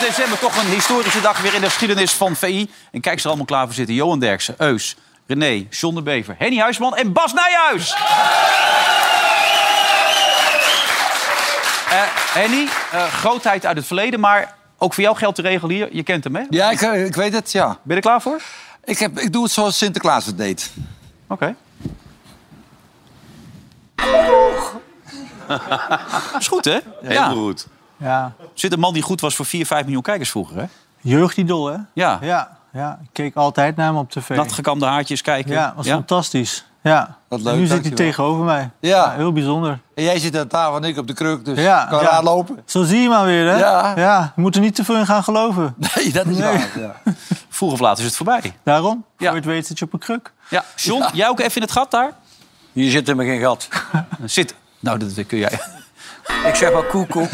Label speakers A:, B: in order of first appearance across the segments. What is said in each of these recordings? A: december toch een historische dag weer in de geschiedenis van VI. En kijk ze er allemaal klaar voor zitten. Johan Derksen, Eus, René, John de Bever, Henny Huisman en Bas Nijhuis. Eh, Henny, eh, grootheid uit het verleden, maar ook voor jou geldt de regel hier. Je kent hem, hè? Ben
B: Ja, ik, eh, ik weet het, ja.
A: je er klaar voor?
B: Ik, heb, ik doe het zoals Sinterklaas het deed.
A: Oké. is goed, hè?
C: Heel
D: Ah.
C: goed.
D: Ja.
A: Zit een man die goed was voor 4, 5 miljoen kijkers vroeger, hè?
D: Jeugdidol, hè?
A: Ja.
B: Ah.
D: Ja. ja. Ik keek altijd naar hem op tv.
A: Natgekamde haartjes kijken.
D: ja, was fantastisch. Ja.
B: Wat
D: En
B: leuk,
D: nu zit hij
B: dankjewel.
D: tegenover mij.
B: Ja.
D: heel bijzonder.
B: En jij zit aan tafel en ik op de kruk, dus
D: Ja,
B: kan
D: ja.
B: raar lopen.
D: Zo zie je maar weer, hè?
B: Ja.
D: ja. Je moet er niet te veel in gaan geloven.
B: Nee, dat is waar. Ja.
A: Vroeg of laat is het voorbij.
D: Daarom,
A: Ja.
D: voor je het weet zit je op een kruk.
A: Ja, John, jij ook even in het gat daar?
E: Hier zit helemaal geen gat.
A: Zit. Nou, dat kun jij.
E: Ik zeg maar koekoek.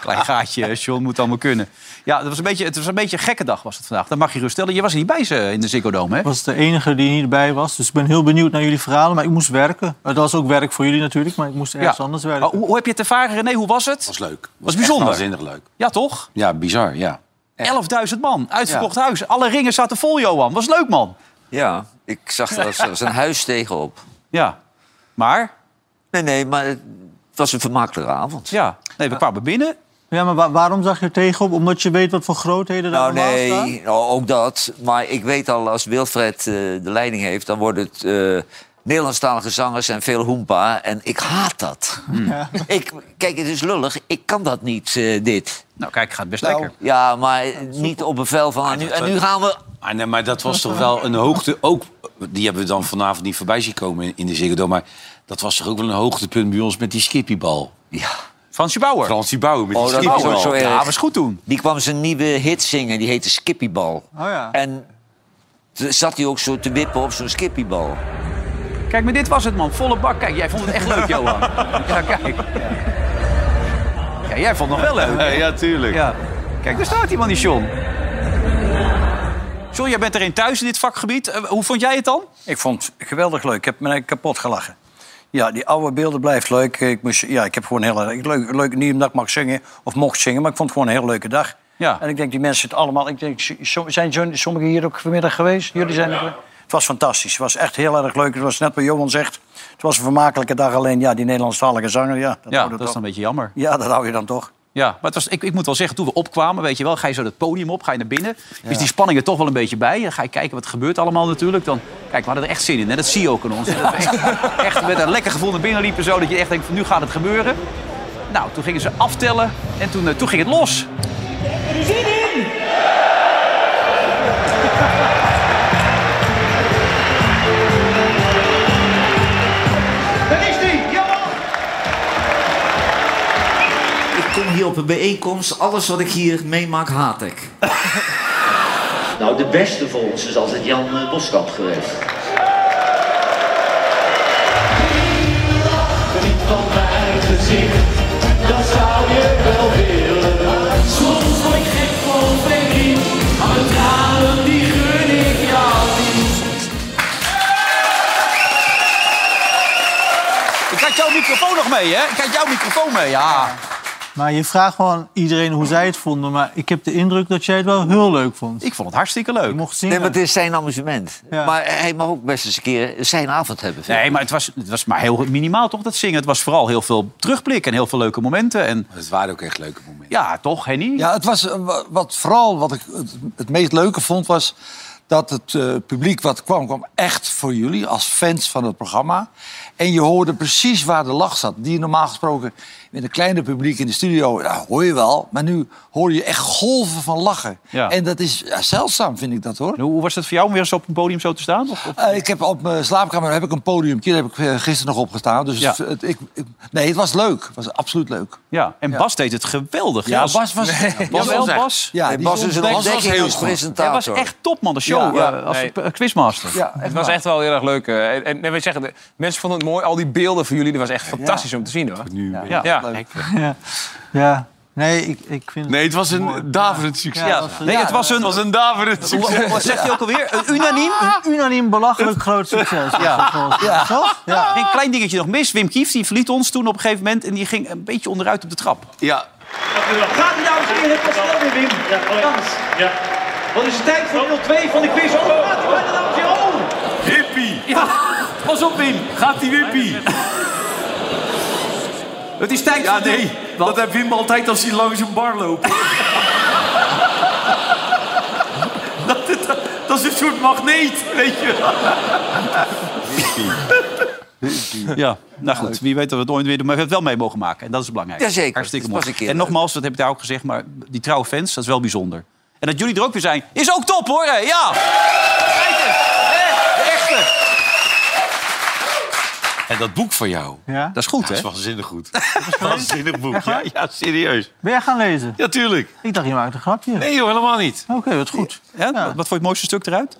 A: Klein gaatje, eh, John, moet allemaal kunnen. Ja, dat was een beetje, het was een beetje een gekke dag was het vandaag. Dat mag je rust stellen. Je was er niet bij ze in de Ziggo Dome, hè?
D: Ik was de enige die niet erbij was. Dus ik ben heel benieuwd naar jullie verhalen. Maar ik moest werken. Het was ook werk voor jullie natuurlijk, maar ik moest ergens anders werken.
A: Oh, hoe, hoe heb je het ervaren, René? Hoe was het?
C: Was leuk.
A: Was
C: echt
A: bijzonder.
C: Waanzinnig leuk.
A: Ja, toch?
C: Ja, bizar, ja.
A: 11.000 man, uitverkocht huis. Alle ringen zaten vol, Johan. Was leuk, man.
E: Ja, ik zag er als, als een huis tegenop.
A: Ja. Maar,
E: Nee, nee, maar het was een vermakelijke avond.
A: ja. Nee, we kwamen binnen.
D: Ja, maar wa- waarom zag je er tegenop? Omdat je weet wat voor grootheden daar
E: Nou
D: allemaal staan?
E: nee, nou, ook dat. Maar ik weet al, als Wilfred eh, de leiding heeft... dan wordt het eh Nederlandstalige zangers en veel hoempa. En ik haat dat. Ik, kijk, het is lullig. Ik kan dat niet, eh, dit.
A: Nou, kijk, gaat best lekker.
E: Ja, maar niet op bevel van... En nu, en nu gaan we...
C: Ah, nee, maar dat was toch wel een hoogte... Ook, die hebben we dan vanavond niet voorbij zien komen in, in de Ziggo Dome. Maar dat was toch ook wel een hoogtepunt bij ons met die skippybal.
E: Ja,
A: Fransje Bauer.
C: Fransie Bouwen met die
E: Oh, dat
C: skippybal.
E: was ook zo erg.
A: ja, was goed toen.
E: Die kwam zijn nieuwe hit zingen, die heette Skippybal.
D: ja.
E: En toen zat hij ook zo te wippen op zo'n Skippybal.
A: Kijk, maar dit was het, man. Volle bak. Kijk, jij vond het echt leuk, Johan. Ja, kijk. Ja, jij vond het nog wel leuk.
C: Ja, tuurlijk.
A: Ja. Kijk, daar staat iemand, die John. John, jij bent erin thuis in dit vakgebied. Eh, hoe vond jij het dan?
E: Ik vond het geweldig leuk. Ik heb me kapot gelachen.
F: Ja, die oude beelden blijft leuk. Ik, moest, ja, ik heb gewoon heel erg leuk, leuk niet omdat ik mag zingen of mocht zingen, maar ik vond het gewoon een heel leuke dag.
A: Ja.
F: En ik denk die mensen het allemaal. Ik denk, so- zijn zo- sommigen hier ook vanmiddag geweest? Jullie zijn er. Het was fantastisch. Het was echt heel erg leuk. Het was net wat Johan zegt. Het was een vermakelijke dag. Alleen ja, die Nederlandstalige zanger. Ja, dat,
A: Ja,
F: houdt
A: Oh, dat
F: het
A: is
F: op.
A: dan een beetje jammer.
F: ja, dat hou je dan toch.
A: Ja, maar het was, ik, ik moet wel zeggen, toen we opkwamen, weet je wel, ga je zo dat podium op, ga je naar binnen. Is die spanning er toch wel een beetje bij? Dan ga je kijken wat er gebeurt allemaal natuurlijk. Dan, kijk, we hadden er echt zin in. Hè? Dat zie je ook aan ons. Dat we echt, echt met een lekker gevoel naar binnen liepen, zo dat je echt denkt, van, nu gaat het gebeuren. Nou, toen gingen ze aftellen en toen, eh, toen ging het los.
E: Ik kom hier op een bijeenkomst. Alles wat ik hier meemaak, haat ik.
G: Nou, de beste voor ons is altijd Jan eh, Boskamp geweest.
H: Niet van mijn gezicht, dat zou je wel willen. Soms word ik gek van verdriet, maar de tranen die gun ik jou niet.
A: Ik had jouw microfoon nog mee, hè? Ik had jouw microfoon mee, ja.
D: Maar je vraagt gewoon iedereen hoe zij het vonden. Maar ik heb de indruk dat jij het wel heel leuk vond.
A: Ik vond het hartstikke leuk.
D: Ik mocht zien.
E: Nee, maar het is zijn amusement.
D: Ja.
E: Maar eh, hij mag ook best eens een keer zijn avond hebben. vind ik.
A: Nee, maar het was, het was maar heel minimaal toch, dat zingen. Het was vooral heel veel terugblik en heel veel leuke momenten. En
C: Het waren ook echt leuke momenten.
A: ja, toch, Henny?
B: Ja, het was, eh, wa- wat, vooral wat ik het, het meest leuke vond was dat het eh, publiek wat kwam, kwam echt voor jullie als fans van het programma. En je hoorde precies waar de lach zat. Die je normaal gesproken in een kleine publiek in de studio ja, hoor je wel. Maar nu hoor je echt golven van lachen.
A: Ja.
B: En dat is ja, zeldzaam, vind ik dat hoor.
A: En Hoe hoe was het voor jou om weer eens op een podium zo te staan? Of, of-
B: Eh, ik heb op mijn slaapkamer heb ik een podiumje. Daar heb ik eh, gisteren nog op gestaan. Dus
A: Ja.
B: het, het- ik, ik- nee, het was leuk. Het was absoluut leuk.
A: Ja, en Bas deed het geweldig.
B: Ja, Bas was...
A: Bas, wel, Bas.
B: Ja,
E: Hij
B: die
E: was dus een
B: ontdekte-
E: ontdekking als
A: Hij was
E: presentator.
A: echt topman, de show,
B: Ja.
A: eh, als eh, quizmaster.
B: Ja, echt
I: Het was
B: waar.
I: echt wel heel erg leuk. eh. En, en, en we zeggen, de, mensen vonden het mooi. Al die beelden van jullie, dat was echt fantastisch om te zien hoor.
C: Nu,
A: Ja.
I: Ja.
D: Ja. ja. Nee, ik, ik vind
C: Nee, het was een
D: mooi.
C: daverend
D: Ja.
C: succes.
D: Ja,
A: Ja.
D: dat was-
A: Nee, het was een...
C: een daverend
A: Hoe- hoe- Wat zegt hij Oh, ook alweer? Een unaniem?
D: Ah, een unaniem belachelijk groot succes. Ja. Ja. Toch? Ja.
A: Een klein dingetje nog mis. Wim Kieft die verliet ons toen op een gegeven moment... en die ging een beetje onderuit op de trap.
C: Ja.
J: Gaat hij dames en heren, het was snel weer Wim. Kans. Wat is de tijd voor deel 2 van de quiz? Oh, gaat hij bijna dames en heren. Oh.
K: Wippie! Ja, pas op Wim, gaat die Wippie?
A: Het is tijd
K: Ja, nee, dat heeft Wim altijd als hij langs een bar loopt. dat, dat, dat is een soort magneet, weet je.
A: Ja, nou goed, wie weet dat we het ooit weer doen. Maar we hebben het wel mee mogen maken. En dat is belangrijk.
E: Jazeker,
A: Hartstikke
E: het was
A: mooi.
E: een keer
A: En
E: leuk.
A: nogmaals, dat heb ik daar ook gezegd, maar die trouwe fans, dat is wel bijzonder. En dat jullie er ook weer zijn, is ook top hoor. hè? Ja! Kijk eens, hè, de echte.
C: En dat boek van jou,
D: Ja?
A: Dat is goed,
C: dat is
A: hè?
C: waanzinnig goed. Dat is een waanzinnig boek. Ja, ja, serieus.
D: Ben jij gaan lezen?
C: Ja, tuurlijk.
D: Ik dacht, je maakt een grapje.
C: Nee joh, helemaal niet.
D: Oké, wat goed.
A: Ja, Wat, wat vond je het mooiste stuk eruit?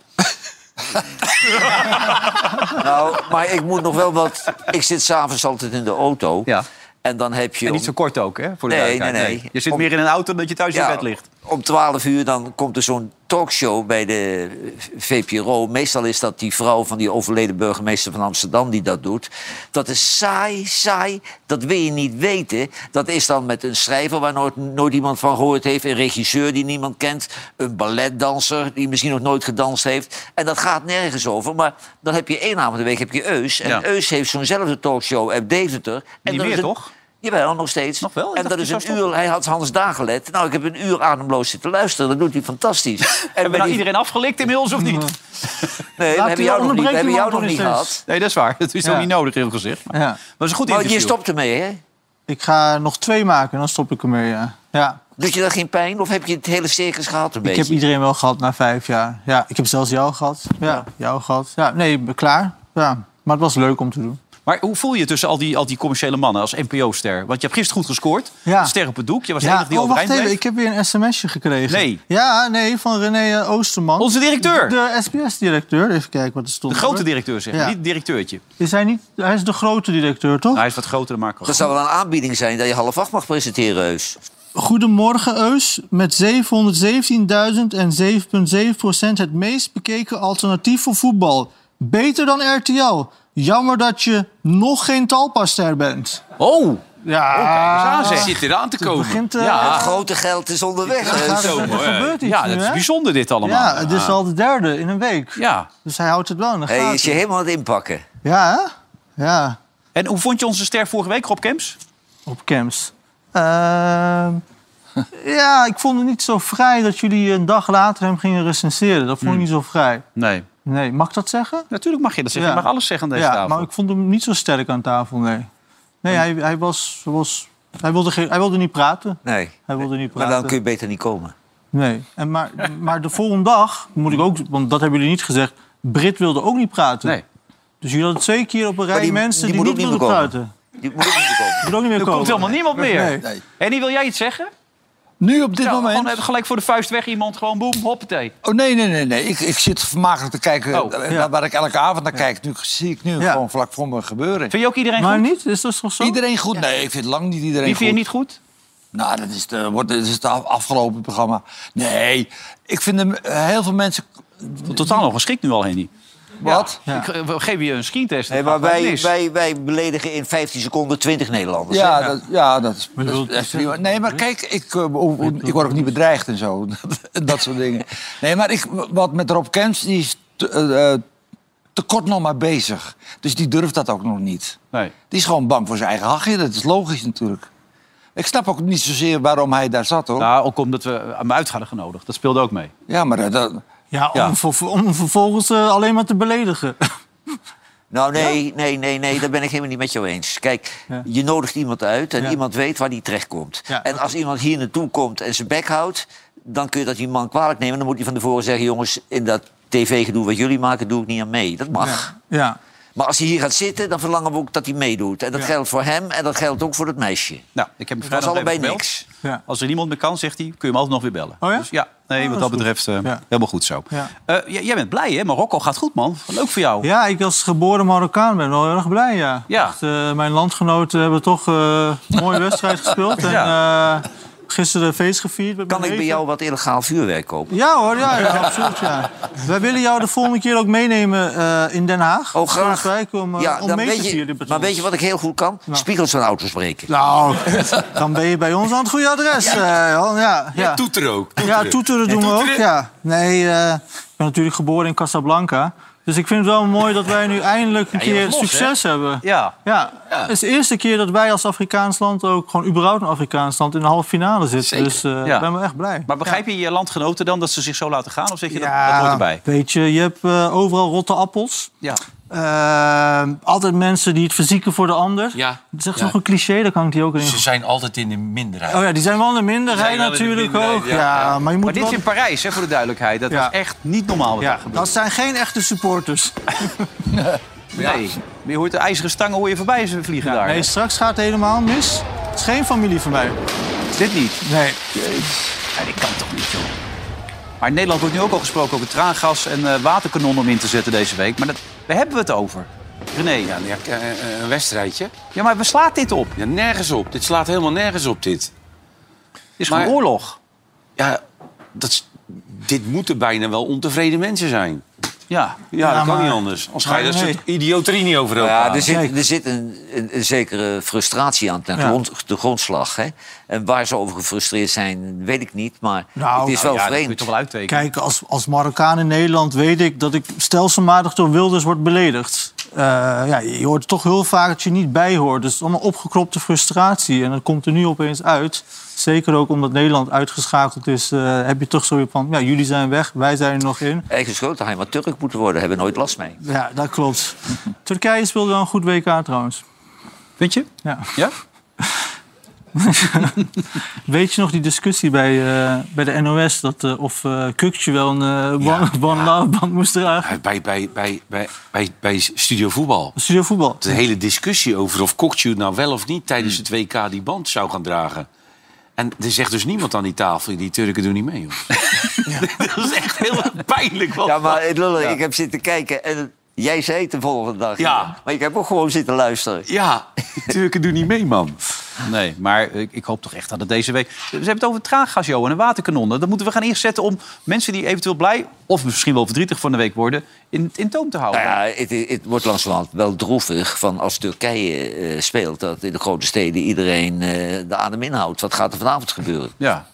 E: Nou, maar ik moet nog wel wat... Ik zit s'avonds altijd in de auto.
A: Ja.
E: En dan heb je...
A: En
E: om-
A: niet zo kort ook, hè? Voor de
E: Nee,
A: duidelijkheid.
E: nee, nee.
A: Je zit
E: Om-
A: meer in een auto dan dat je thuis in
E: Ja,
A: bed ligt.
E: Om 12 uur dan komt er zo'n talkshow bij de eh, VPRO. Meestal is dat die vrouw van die overleden burgemeester van Amsterdam die dat doet. Dat is saai, saai. Dat wil je niet weten. Dat is dan met een schrijver waar nooit, nooit iemand van gehoord heeft. Een regisseur die niemand kent. Een balletdanser die misschien nog nooit gedanst heeft. En dat gaat nergens over. Maar dan heb je één avond in de week heb je Eus. En
A: Ja.
E: Eus heeft zo'nzelfde talkshow uit Deventer. En
A: Niet
E: dan is
A: meer,
E: het-
A: toch?
E: Jawel, nog steeds.
A: Nog wel? Ik
E: En
A: dacht,
E: dat is
A: die
E: een
A: zou
E: uur. Hij had Hans Dagelet. Nou, ik heb een uur ademloos zitten luisteren. Dat doet hij fantastisch. En
A: Hebben we
E: bij
A: nou
E: die-
A: iedereen afgelikt inmiddels of niet?
E: Nee, we
D: Laat
E: hebben
D: die
E: jou nog niet, we
D: onderbreking
E: hebben jou nog
D: maar
E: niet
D: door eens.
E: gehad.
A: Nee, dat is waar. Dat is ook
D: Ja.
A: niet nodig, heel gezegd. Maar
D: Ja.
A: dat is een goed
E: Maar
A: interview.
E: je stopt ermee, hè?
D: Ik ga nog twee maken en dan stop ik ermee, ja. ja.
E: Doet je dat geen pijn? Of heb je het hele circus gehad een
D: Ik heb
E: beetje?
D: iedereen wel gehad na vijf jaar. Ja, ik heb zelfs jou gehad. Ja, jou gehad. Ja, nee, ik ben klaar. Ja. Maar het was leuk om te doen.
A: Maar hoe voel je je tussen al die, al die commerciële mannen als NPO-ster? Want je hebt gisteren goed gescoord.
D: Ja.
A: Een Ster op het doek. Je was de
D: ja,
A: enige die
D: oh, wacht
A: overeind
D: even.
A: bleef.
D: Ik heb weer een sms'je gekregen.
A: Nee.
D: Ja, nee, van René eh, Oosterman.
A: Onze directeur. De,
D: De SBS-directeur. Even kijken wat er stond.
A: grote
D: hoor.
A: directeur, zeg.
D: Ja.
A: Niet het directeurtje.
D: Is hij, niet, hij is de grote directeur, toch?
A: Nou, hij is wat groter dan Marco.
E: Dat zou wel een aanbieding zijn dat je half acht mag presenteren, Heus.
D: Goedemorgen Eus, met 717.000 en 7,7 het meest bekeken alternatief voor voetbal. Beter dan RTL. Jammer dat je nog geen talpaster bent.
A: Oh!
D: Ja,
C: Ze zit eraan te komen.
D: Ah. begint, eh,
A: Ja,
E: Het grote geld is onderweg, Heus.
D: er gebeurt iets
A: Ja,
D: nu,
A: dat is
D: hè?
A: bijzonder dit allemaal.
D: Ja, het is al de derde in een week.
A: Ja.
D: Dus hij houdt het wel in de
E: Hij
D: gaten.
E: is je helemaal aan het inpakken.
D: Ja, hè? Ja,
A: En hoe vond je onze ster vorige week, Rob Kemps?
D: op camps. Ehm, ja, ik vond het niet zo vrij dat jullie een dag later hem gingen recenseren. Dat
E: Hmm.
D: vond ik niet zo vrij.
A: Nee.
D: Nee, mag ik dat zeggen?
A: Natuurlijk mag je dat zeggen.
D: Ja.
A: Je mag alles zeggen aan deze
D: ja,
A: tafel.
D: maar ik vond hem niet zo sterk aan tafel, nee. Nee,
E: Hmm.
D: hij, hij was... was hij, wilde geen, hij wilde niet praten.
E: Nee.
D: Hij wilde niet
E: Maar
D: praten.
E: dan kun je beter niet komen.
D: Nee, en maar, maar de volgende dag moet ik ook... Want dat hebben jullie niet gezegd. Brit wilde ook niet praten.
A: Nee.
D: Dus jullie hadden twee keer op een rij
E: die-
D: mensen
E: die
D: die,
E: moet
D: niet
E: ook niet
D: wilden
E: meer komen.
D: praten.
E: Die moet ook niet komen.
D: Die moet ook niet meer
A: er
D: komen.
A: komt helemaal niemand meer.
D: Nee.
B: Nee.
A: Henny, wil jij iets zeggen?
B: Nu op dit
A: Ja,
B: moment...
A: gewoon even gelijk voor de vuist weg iemand. Gewoon boem, hoppatee.
B: Oh, nee, nee, nee. nee. Ik, ik zit vermakelijk te kijken
A: Oh,
B: eh,
D: ja.
B: naar waar ik elke avond naar kijk. Nu zie ik nu
D: Ja.
B: gewoon vlak voor me gebeuren.
A: Vind je ook iedereen
D: Maar
A: goed?
D: niet? Is dat toch zo?
B: Iedereen goed? Nee, ik vind lang niet iedereen
A: Wie
B: goed.
A: vind je niet goed?
B: Nou, dat is, de, wordt, dat is het af- afgelopen programma. Nee, ik vind hem, eh, heel veel mensen...
A: Totaal nog geschikt nu al, Henny.
B: Wat?
A: Ik eh, we geven je een screentest.
E: Nee,
A: Dat
E: maar
A: gaat gewoon
E: wij,
A: mis.
E: wij, wij beledigen in 15 seconden 20 Nederlanders. hè?
B: Ja, dat, ja, dat is, dat is
D: bedoelt-
B: echt prima. Nee, maar kijk, ik, eh, hoe- hoe- ik word ook niet bedreigd en zo. dat soort dingen. Nee, maar ik, wat met Rob Kemps, die is te, eh, eh, te kort nog maar bezig. Dus die durft dat ook nog niet.
A: Nee.
B: Die is gewoon bang voor zijn eigen hachje. Dat is logisch natuurlijk. Ik snap ook niet zozeer waarom hij daar zat, hoor.
A: Nou, ook omdat we hem uit hadden genodigd. Dat speelde ook mee.
B: Ja, maar eh, dat...
D: Ja, om,
A: Ja.
D: ver- om vervolgens eh, alleen maar te beledigen.
E: Nou, nee, nee, nee, nee, daar ben ik helemaal niet met jou eens. Kijk, je nodigt iemand uit en
D: Ja.
E: iemand weet waar die terechtkomt.
D: Ja.
E: En als iemand hier naartoe komt en zijn bek houdt... dan kun je dat die man kwalijk nemen. Dan moet hij van tevoren zeggen... jongens, in dat tv-gedoe wat jullie maken, doe ik niet aan mee. Dat mag.
D: Ja.
E: Maar als hij hier gaat zitten, dan verlangen we ook dat hij meedoet. En dat geldt voor hem en dat geldt ook voor het meisje.
A: Nou, ik heb hem
E: Dat is
A: vrijdag nog
E: allebei
A: even gebeld.
E: niks.
D: ja.
A: Als er niemand meer kan, zegt hij, kun je hem altijd nog weer bellen.
D: Oh ja?
A: Dus ja, nee,
D: Oh,
A: wat dat
D: dat is
A: betreft eh,
D: Ja.
A: helemaal goed zo.
D: Ja.
A: Eh, j- jij bent blij, hè? Marokko gaat goed, man. Leuk voor jou.
D: Ja, ik als geboren Marokkaan ben wel heel erg blij, ja.
A: Ja.
D: Echt, eh, mijn landgenoten hebben toch eh, een mooie wedstrijd gespeeld. En, eh, Gisteren een feest gevierd. met
E: Kan
D: mijn
E: ik bij
D: neven.
E: jou wat illegaal vuurwerk kopen?
D: Ja hoor, ja, ja absoluut. Ja. Wij willen jou de volgende keer ook meenemen eh, in Den Haag.
E: Oh, graag.
D: Volgens mij om, eh,
E: ja,
D: om
E: dan
D: mee te
E: weet
D: vieren Nou.
E: je,
D: met
E: maar
D: ons.
E: weet je wat ik heel goed kan? Spiegels van auto's breken.
D: Nou, dan ben je bij ons aan het goede adres. eh, Jan. ja, ja.
C: Toeter ook.
D: Ja, toeteren doen we ook, ja. Nee, eh, ik ben natuurlijk geboren in Casablanca. Dus ik vind het wel mooi dat wij nu eindelijk een
A: je
D: keer
A: was los,
D: succes hebben.
A: Ja.
D: Ja, het is de eerste keer dat wij als Afrikaans land ook gewoon überhaupt een Afrikaans land in de halve finale zitten. Dus eh, ik
A: Ja.
D: ben wel echt blij.
A: Maar begrijp je je landgenoten dan dat ze zich zo laten gaan? Of zeg je dat, dat
D: Ja,
A: hoort erbij?
D: Weet je, je hebt eh, overal rotte appels.
A: Ja.
D: Ehm, altijd mensen die het verzieken voor de ander.
C: Ja.
D: Dat is echt
C: Ja.
D: nog een cliché, daar hangt hij ook in.
C: Ze zijn altijd in de minderheid.
D: Oh ja, die zijn wel een minderheid
C: Die zijn wel in de
D: natuurlijk
C: minderheid,
D: ook.
C: ja.
D: Ja, maar je moet
A: Maar dit
D: wel-
A: is in Parijs, hè, voor de duidelijkheid. Dat
D: Ja.
A: was echt niet normaal wat daar
D: ja,
A: gebeurde.
D: dat zijn geen echte supporters.
A: Nee. Maar je hoort de ijzeren stangen hoor je voorbij ze vliegen daar.
D: Nee, straks gaat het helemaal mis. Het is geen familie van mij.
A: Dit niet.
D: Nee.
A: Ja, dit kan toch niet, joh. Maar in Nederland wordt nu ook al gesproken over traangas en eh, waterkanonnen om in te zetten deze week. Maar dat, daar hebben we het over. René, ja,
C: Ja, k- eh, eh, een wedstrijdje.
A: ja, maar we slaat dit op.
C: Ja, nergens op. Dit slaat helemaal nergens op, dit.
A: Het is gewoon
C: Maar-
A: oorlog.
C: Ja, dat is- dit moeten bijna wel ontevreden mensen zijn.
A: Ja.
C: Ja, dat kan
D: maar-
C: niet anders. Als ga je dat
D: Nee.
C: soort idioterie niet overal
E: Ja, er zit, er zit een, een, een zekere frustratie aan ten
D: Ja.
E: grond, de grondslag. Hè? En waar ze over gefrustreerd zijn, weet ik niet. Maar
D: Nou,
E: het is wel
A: ja, dat kun je
E: vreemd.
A: toch wel uittekenen.
D: Kijk, als, als Marokkaan in Nederland weet ik dat ik stelselmatig door Wilders word beledigd. Eh, ja, je hoort toch heel vaak dat je niet bij hoort. Dus het is allemaal opgekropte frustratie. En dat komt er nu opeens uit. Zeker ook omdat Nederland uitgeschakeld is, eh, heb je toch zo weer van... ja, jullie zijn weg, wij zijn er nog in.
E: Eigen schoot, hij maar Turk moeten worden, hebben we nooit last mee.
D: Ja, dat klopt. Turkije speelde wel een goed WK trouwens.
A: Vind je?
D: Ja.
A: Ja?
D: Weet je nog die discussie bij, eh, bij de NOS... Dat, eh, of eh Kukje wel een eh, one- one-love-band moest dragen?
C: Bij, bij, bij, bij, bij, bij Studio Voetbal.
D: Studio voetbal.
C: De hele discussie over of Kokju nou wel of niet tijdens het WK die band zou gaan dragen. En er zegt dus niemand aan die tafel, die Turken doen niet mee, joh. dat is echt heel pijnlijk. Wat
E: Ja, maar het lullen, ik heb zitten kijken en jij zei het de volgende dag.
C: Ja.
E: Maar ik heb ook gewoon zitten luisteren.
C: Ja, die Turken doen niet mee, man.
A: Nee, maar ik, ik hoop toch echt dat het deze week... Ze hebben het over traangas, Johan, en waterkanonnen. Dat moeten we gaan inzetten om mensen die eventueel blij... of misschien wel verdrietig van de week worden, in, in toom te houden.
E: Nou ja, het, het wordt langzamerhand wel droevig van als Turkije eh, speelt... dat in de grote steden iedereen eh, de adem inhoudt. Wat gaat er vanavond gebeuren?
A: Ja.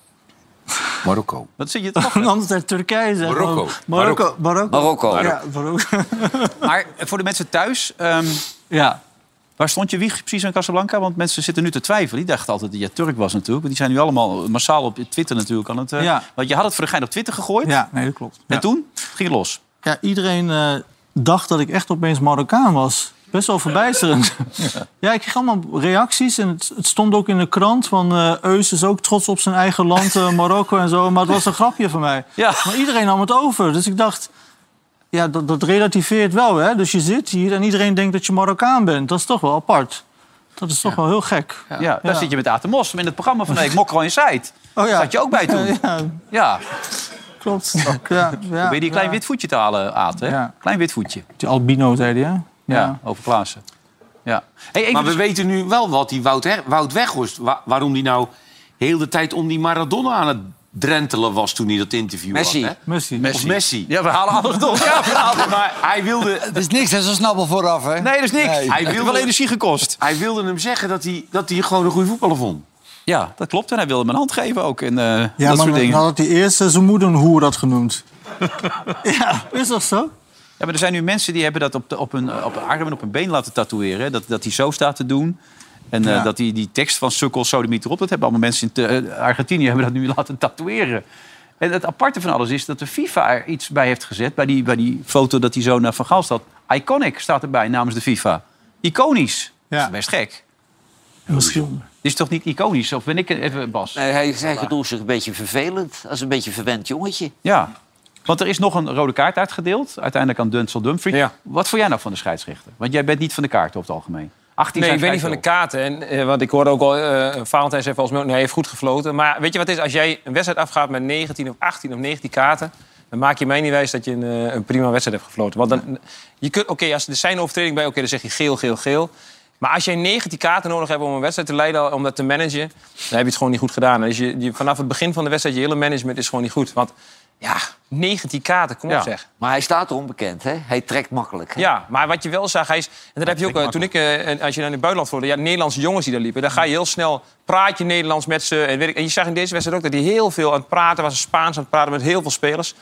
C: Marokko.
A: Wat zit je toch?
D: Anders uit Turkije zeggen.
C: Marokko.
D: Marokko. Marokko.
E: Marokko.
D: Ja, Marokko.
A: maar voor de mensen thuis, ehm,
D: ja.
A: waar stond je wieg precies in Casablanca? Want mensen zitten nu te twijfelen. Die dachten altijd dat je Turk was natuurlijk. Want die zijn nu allemaal massaal op Twitter natuurlijk aan het... eh,
D: Ja.
A: Want je had het voor de gein op Twitter gegooid.
D: ja, nee, dat klopt.
A: En
D: Ja.
A: toen ging het los.
D: Ja, iedereen eh, dacht dat ik echt opeens Marokkaan was. Best wel verbijsterend. ja, ik kreeg allemaal reacties. En het, het stond ook in de krant van... eh Eus is ook trots op zijn eigen land, eh, Marokko en zo. Maar het was een grapje van mij.
A: Ja.
D: Maar iedereen nam het over. Dus ik dacht... Ja, dat, dat relativeert wel, hè? Dus je zit hier en iedereen denkt dat je Marokkaan bent. Dat is toch wel apart. Dat is toch wel heel gek.
A: Ja, daar zit je met Atemos in het programma van de week. Mokro in Zuid.
D: Oh
A: Daar zat je ook bij toen.
D: Ja, ja,
A: Ja,
D: klopt. Ja, ja,
A: probeer die klein
D: ja.
A: wit voetje te halen, Aad. Hè?
D: Ja.
A: Klein wit voetje.
D: Die albino, zei hij, hè?
A: Ja, over Klaassen. Ja. Hey, even
C: Maar we
A: dus-
C: weten nu wel wat die Wout, Her- Wout Weghorst... wa- waarom die nou heel de tijd om die Maradona aan het drentelen was... toen hij dat interview
E: Messi.
C: had, hè?
D: Messi.
C: Of Messi.
A: Ja, we halen alles door. Ja, we halen-
C: Maar hij wilde,
B: Het is niks, hè, zo snabbel vooraf, hè?
A: Nee, dat is niks.
B: Nee.
A: Hij heeft wel energie gekost.
C: hij wilde hem zeggen dat hij, dat hij gewoon een goede voetballer vond.
A: Ja, dat klopt. En hij wilde me een hand geven ook. En eh,
D: Ja,
A: dat
D: maar
A: soort
D: dan
A: dingen.
D: had hij eerst eh, zijn moeder een hoer dat genoemd. ja, is dat zo?
A: Ja, maar er zijn nu mensen die hebben dat op, de, op, hun, eh, op hun arm en op hun been laten tatoeëren. hè. Dat, dat die zo staat te doen. En eh,
D: Ja.
A: dat die, die tekst van Sukkel, Sodemiet erop... dat hebben allemaal mensen in te- eh, Argentinië hebben dat nu laten tatoeëren. En het aparte van alles is dat de FIFA er iets bij heeft gezet... bij die, bij die foto dat hij zo naar Van Gaal staat. Iconic staat erbij namens de FIFA. Iconisch.
D: Ja.
A: Dat is best gek.
D: Misschien.
A: Dit is toch niet iconisch? Of ben ik even Bas?
E: Nee, Eh, hij, hij gedroeg zich een beetje vervelend. Als een beetje verwend jongetje.
A: Ja. Want er is nog een rode kaart uitgedeeld. Uiteindelijk aan Denzel Dumfries.
I: Ja.
A: Wat vond jij nou van de scheidsrechter? Want jij bent niet van de kaarten over het algemeen. 18
I: Nee,
A: zijn
I: ik ben niet van de kaarten. En, eh, want ik hoorde ook al, eh Valentijn zei volgens mij, ook, nee, hij heeft goed gefloten. Maar weet je wat het is? Als jij een wedstrijd afgaat met 19 of 18 of 19 kaarten... dan maak je mij niet wijs dat je een, eh, een prima wedstrijd hebt gefloten. Want dan, je kunt, oké, als er zijn overtreding bij, oké, dan zeg je geel, geel, geel. Maar als jij 19 kaarten nodig hebt om een wedstrijd te leiden, om dat te managen, dan heb je het gewoon niet goed gedaan. Dus je, je- vanaf het begin van de wedstrijd, je hele management is gewoon niet goed. Want ja, 19 kaarten, kom op zeg.
E: Maar hij staat er onbekend, hè? Hij trekt makkelijk. hè?
I: Ja, maar wat je wel zag, hij is, en dat heb je ook, eh, toen ik, eh, en als je naar het buitenland voelde, ja, Nederlandse jongens die daar liepen, dan ga je
A: Mm.
I: heel snel, praat je Nederlands met ze. En, weet ik, en je zag in deze wedstrijd ook dat hij heel veel aan het praten was, Spaans aan het praten met heel veel spelers.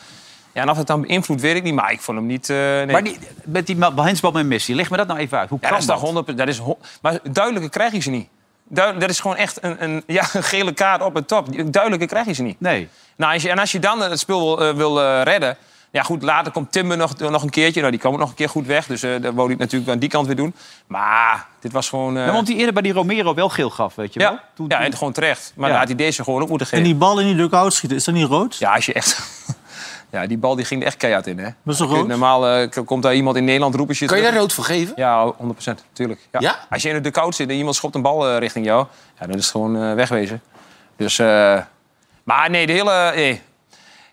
I: Ja, en of het dan beïnvloedt, weet ik niet, maar ik vond hem niet... eh, nee.
A: Maar die, met die ma- handsbal met Messi, leg me dat nou even uit. Hoe
I: Ja,
A: kan
I: dat is toch 100, dat is, ho- maar duidelijker krijg je ze niet. Duid- dat is gewoon echt een, een, ja, een gele kaart op het top. Duidelijker krijg je ze niet.
A: Nee.
I: Nou, als je, en als je dan het spel wil, eh, wil eh, redden... Ja, goed, later komt Timber nog, nog een keertje. Nou, die kwam ook nog een keer goed weg. Dus eh dat wou hij natuurlijk aan die kant weer doen. Maar dit was gewoon... eh,
A: Ja, want die eerder bij die Romero wel geel gaf, weet je wel.
I: ja, ja, en gewoon terecht. Maar
A: Ja.
I: dan had hij deze gewoon ook moeten
D: En
I: geven.
D: die bal in die dugout schieten, is dat niet rood?
I: Ja, als je echt... Ja, die bal die ging er echt keihard in, hè?
D: Dat is toch rood?
I: Normaal eh, k- komt daar iemand in Nederland roepen...
C: Kan je
I: terug-
C: daar rood voor geven?
I: Ja, 100 tuurlijk. Ja.
C: Ja?
I: Als je in de koud zit en iemand schopt een bal eh, richting jou, ja, dan is het gewoon eh, wegwezen. Dus, eh, maar nee, de hele. Nee.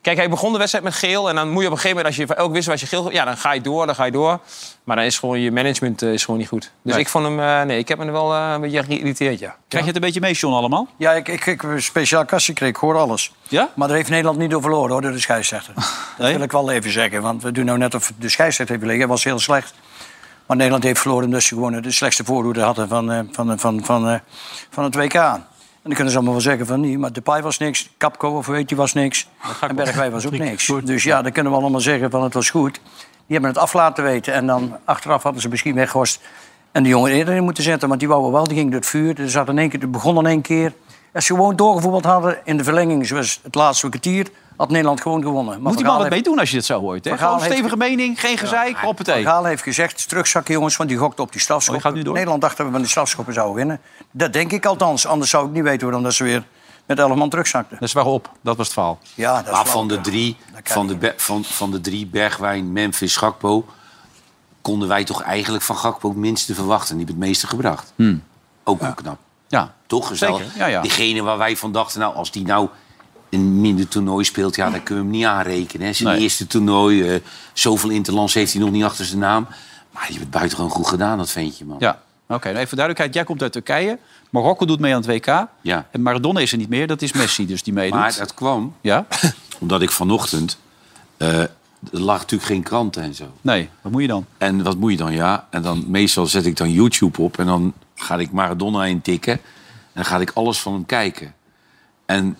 I: Kijk, hij begon de wedstrijd met geel. En dan moet je op een gegeven moment, als je elk wist was je geel. Ja, dan ga je door, dan ga je door. Maar dan is gewoon je management eh, is gewoon niet goed. Dus
A: Nee.
I: ik vond hem. eh, nee, ik heb me er wel eh, een beetje geïrriteerd, ja.
A: Krijg je het een beetje mee, John, allemaal?
F: Ja, ik, ik, ik heb een speciaal kastje kreeg, ik hoor alles.
A: Ja?
F: Maar daar heeft Nederland niet door verloren, hoor, door de scheidsrechter. Dat
A: Nee?
F: wil ik wel even zeggen, want we doen nou net of de scheidsrechter heeft liggen. Hij was heel slecht. Maar Nederland heeft verloren omdat ze gewoon de slechtste voorhoede hadden van, eh, van, van, van, eh, van het WK. En dan kunnen ze allemaal wel zeggen van niet, maar Depay was niks, Capco of weet je was niks. En Bergwijn was ook niks. Dus ja, dan kunnen we allemaal zeggen van het was goed. Die hebben het af laten weten en dan achteraf hadden ze misschien weggehorst... en de jongen eerder in moeten zetten, want die wou wel, die ging door het vuur. Dus had in één keer, het begon in één keer. Als ze gewoon doorgevoetbald hadden in de verlenging, zoals het laatste kwartier... had Nederland gewoon gewonnen. Maar
A: Moet die
F: Van
A: man wat
F: Gaal
A: mee doen als je dit zo hoort, hè?
F: Van Gaal
A: Gewoon
F: heeft-
A: stevige mening, geen gezeik, op het
F: Van Gaal heeft gezegd, terugzakken jongens, want die gokt op die
A: Oh, je
F: strafschop.
A: gaat nu door.
F: Nederland dacht dat we van die strafschoppen zouden winnen. Dat denk ik althans, anders zou ik niet weten waarom dat ze weer met 11 man terugzakten.
A: Dat is waarop, dat was het verhaal.
F: Ja, dat is
C: Maar
F: wel-
C: van de drie, van de, Be- van, van de drie Bergwijn, Memphis, Gakpo... konden wij toch eigenlijk van Gakpo het minste verwachten. Die heeft het meeste gebracht. Ook wel knap.
A: Hmm. Ja.
C: Toch? Is wel-
A: Zeker, ja, ja.
C: Diegene waar wij van dachten, nou, als die nou een minder toernooi speelt... ja, dan kunnen we hem niet aanrekenen. hè. Zijn
A: Nee.
C: eerste toernooi, eh, zoveel interlands heeft hij nog niet achter zijn naam. Maar die heeft het buitengewoon goed gedaan, dat ventje, man.
A: Ja. Oké, nou even voor duidelijkheid. Jij komt uit Turkije. Marokko doet mee aan het WK.
C: Ja.
A: En Maradona is er niet meer. Dat is Messi dus die meedoet.
C: Maar dat kwam
A: Ja?
C: omdat ik vanochtend... eh, er lag natuurlijk geen kranten en zo.
A: Nee. Wat moet je dan?
C: En wat moet je dan, ja? En dan meestal zet ik dan YouTube op en dan ga ik Maradona intikken. En dan ga ik alles van hem kijken. En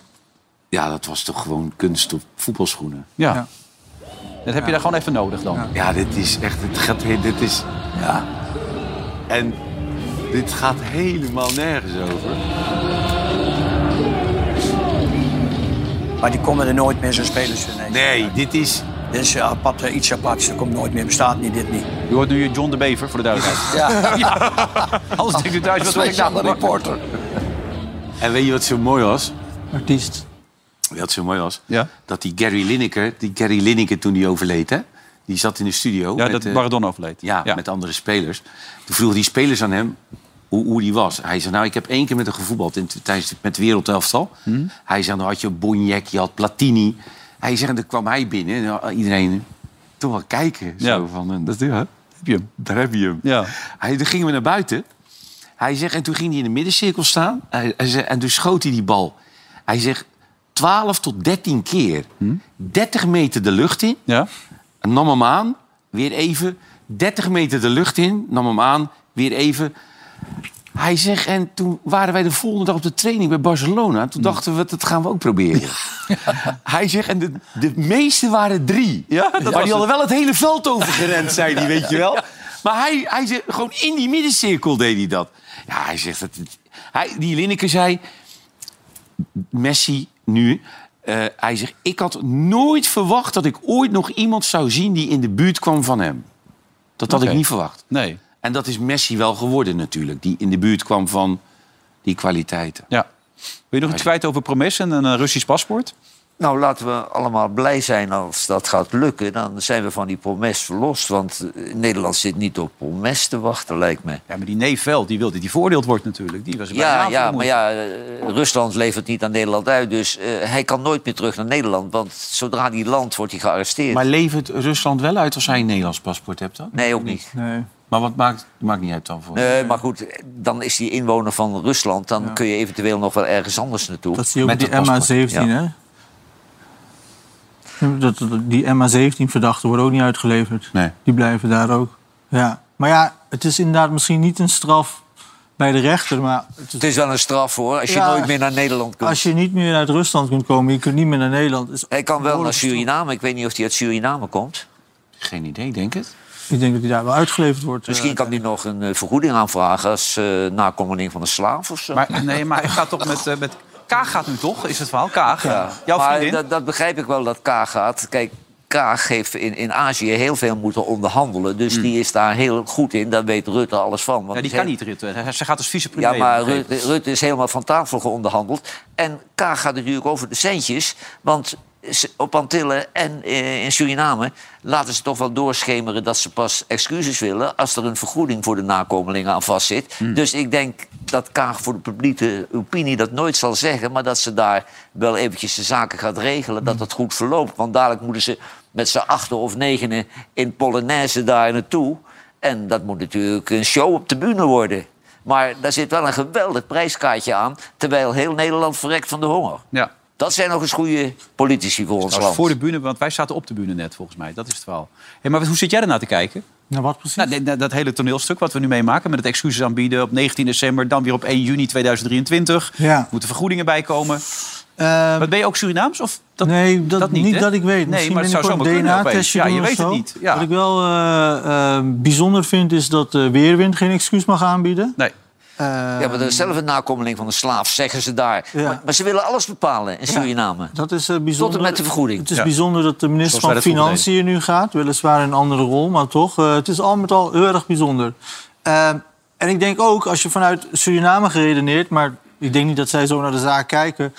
C: ja, dat was toch gewoon kunst op voetbalschoenen.
A: Ja. Dat heb je daar gewoon even nodig dan.
C: Ja, dit is echt, dit gaat, he- dit is, ja. En dit gaat helemaal nergens over.
F: Maar die komen er nooit meer, zo'n spelers. Nee.
C: Nee, dit is,
F: Dit is eh, apart, eh, iets aparts, dat komt nooit meer, bestaat niet, dit niet.
A: Je hoort nu John de Bever, voor de duidelijkheid. Ja. Anders denkt u thuis, wat wil ik nou?
B: reporter.
C: en weet je wat zo mooi was?
D: Artiest.
C: Weet je wat zo mooi was?
A: Ja.
C: Dat die Gary Lineker, die Gary Lineker toen die overleed, hè? Die zat in de studio.
A: Ja,
C: met,
A: dat
C: eh,
A: Maradona overleed.
C: Ja, met andere spelers. Toen vroegen die spelers aan hem hoe, hoe die was. Hij zei, nou, ik heb één keer met hem gevoetbald in, tijdens met de wereldelftal.
A: Hmm.
C: Hij zei, dan had je Bonjek, je had Platini. Hij zegt, en dan kwam hij binnen en dan iedereen toch wel kijken. Zo,
A: Ja.
C: van, eh, dat, ja, heb je hem. Daar heb je hem.
A: Ja.
C: Hij, toen gingen we naar buiten. Hij zegt, en toen ging hij in de middencirkel staan. Hij, hij zegt, en toen schoot hij die bal. Hij zegt, 12 tot 13 keer. 30 meter de lucht in.
A: Ja?
C: En nam hem aan, weer even. 30 meter de lucht in, nam hem aan, weer even. Hij zegt, en toen waren wij de volgende dag op de training bij Barcelona. Toen dachten we, dat gaan we ook proberen. Hij zegt, en de, de meeste waren drie. maar die hadden wel het hele veld overgerend, zei hij, weet je wel. Maar hij, hij zegt, gewoon in die middencirkel deed hij dat. Ja, hij zegt, dat, het- hij, die Linneke zei, Messi nu. eh, hij zegt, ik had nooit verwacht dat ik ooit nog iemand zou zien die in de buurt kwam van hem. Dat had
A: Oké.
C: ik niet verwacht.
A: Nee.
C: En dat is Messi wel geworden natuurlijk, die in de buurt kwam van die kwaliteiten.
A: Ja. Wil je nog iets kwijt over promes en een eh, Russisch paspoort?
E: Nou, laten we allemaal blij zijn als dat gaat lukken. Dan zijn we van die promes verlost. Want eh, Nederland zit niet op promes te wachten, lijkt me.
A: Ja, maar die neef wel, die wilde die veroordeeld wordt natuurlijk. Die was er
E: Ja,
A: bijna
E: ja
A: voor
E: maar
A: moeite.
E: ja, eh, Rusland levert niet aan Nederland uit. Dus eh, hij kan nooit meer terug naar Nederland. Want zodra die land wordt hij gearresteerd.
C: levert Rusland wel uit als hij een Nederlands paspoort hebt dan?
E: Nee, ook niet.
D: Nee.
C: Maar wat maakt, maakt niet uit dan voor?
E: Nee, maar goed, dan is die inwoner van Rusland. Dan kun je eventueel nog wel ergens anders naartoe.
D: Dat zie je ook met die
E: paspoort.
D: MH17,
E: Ja.
D: hè? Dat, dat- die MH17-verdachten worden ook niet uitgeleverd.
C: Nee.
D: Die blijven daar ook. Ja. Maar ja, het is inderdaad misschien niet een straf bij de rechter. Maar
E: Het is wel een straf hoor, als je
D: Ja.
E: nooit meer naar Nederland kunt.
D: als je niet meer uit Rusland kunt komen, je kunt niet meer naar Nederland. Is,
E: Hij kan wel naar Suriname. Ik weet niet of hij uit Suriname komt.
C: Geen idee, denk het.
D: ik denk dat hij daar wel uitgeleverd wordt.
E: Misschien kan hij nog een eh, vergoeding aanvragen als eh nakomeling van een slaaf of zo.
A: Maar, nee, maar hij gaat toch met, eh, met... Kaag gaat nu toch, is het verhaal? Kaag, jouw
E: maar
A: vriendin.
E: dat, dat begrijp ik wel dat Kaag gaat. Kijk, Kaag heeft in, in Azië heel veel moeten onderhandelen. Dus die is daar heel goed in. Daar weet Rutte alles van. Want
A: Hmm. ja, die
E: ze-
A: kan niet, Rutte. Ze gaat als vicepremier.
E: Ja, maar
A: begreep ik.
E: Rutte, Rutte is helemaal van tafel geonderhandeld. En Kaag gaat natuurlijk over de centjes. Want ze- op Antillen en eh, in Suriname laten ze toch wel doorschemeren... dat ze pas excuses willen als er een vergoeding voor de nakomelingen aan vastzit. Dus ik denk dat Kaag voor de publieke opinie dat nooit zal zeggen... maar dat ze daar wel eventjes de zaken gaat regelen, dat dat goed verloopt. Want dadelijk moeten ze met z'n achten of negenen in Polonaise daar naartoe... En dat moet natuurlijk een show op de bühne worden. Maar daar zit wel een geweldig prijskaartje aan... terwijl heel Nederland verrekt van de honger.
A: Ja.
E: Dat zijn nog eens goede politici voor ons
A: Dat was
E: land.
A: voor de bühne, want wij zaten op de bühne net, volgens mij. Dat is het verhaal. Hey, maar hoe zit jij ernaar te kijken?
D: Naar wat precies?
A: Nou, dit- dat, hele toneelstuk wat we nu meemaken... met het excuses aanbieden op 19 december... dan weer op 1 juni 2023.
D: Ja.
A: Moeten vergoedingen bijkomen.
D: Eh,
A: Maar ben je ook Surinaams? Of dat,
D: nee, dat, niet,
A: hè?
D: dat ik weet.
A: Nee,
D: Misschien
A: maar het zou zomaar
D: binnenkort een
A: kunnen. opeens.
D: DNA-testje
A: Ja,
D: doen
A: je
D: of
A: weet het
D: zo.
A: niet. Ja.
D: Wat ik wel eh, eh, bijzonder vind, is dat eh, Weerwind geen excuus mag aanbieden.
A: Nee.
D: Eh,
E: Ja, maar dat is zelf een nakomeling van een slaaf, zeggen ze daar.
D: Ja.
E: Maar, maar ze willen alles bepalen in Suriname.
D: Dat is eh, bijzonder.
E: Tot en met de vergoeding.
D: Het is
A: Ja.
D: bijzonder dat de minister
A: Zoals wij
D: van
A: dat vroeger
D: Financiën nu gaat. Weliswaar in een andere rol, maar toch. eh, het is al met al heel erg bijzonder. Ehm, en ik denk ook, als je vanuit Suriname geredeneerd... maar ik denk niet dat zij zo naar de zaak kijken...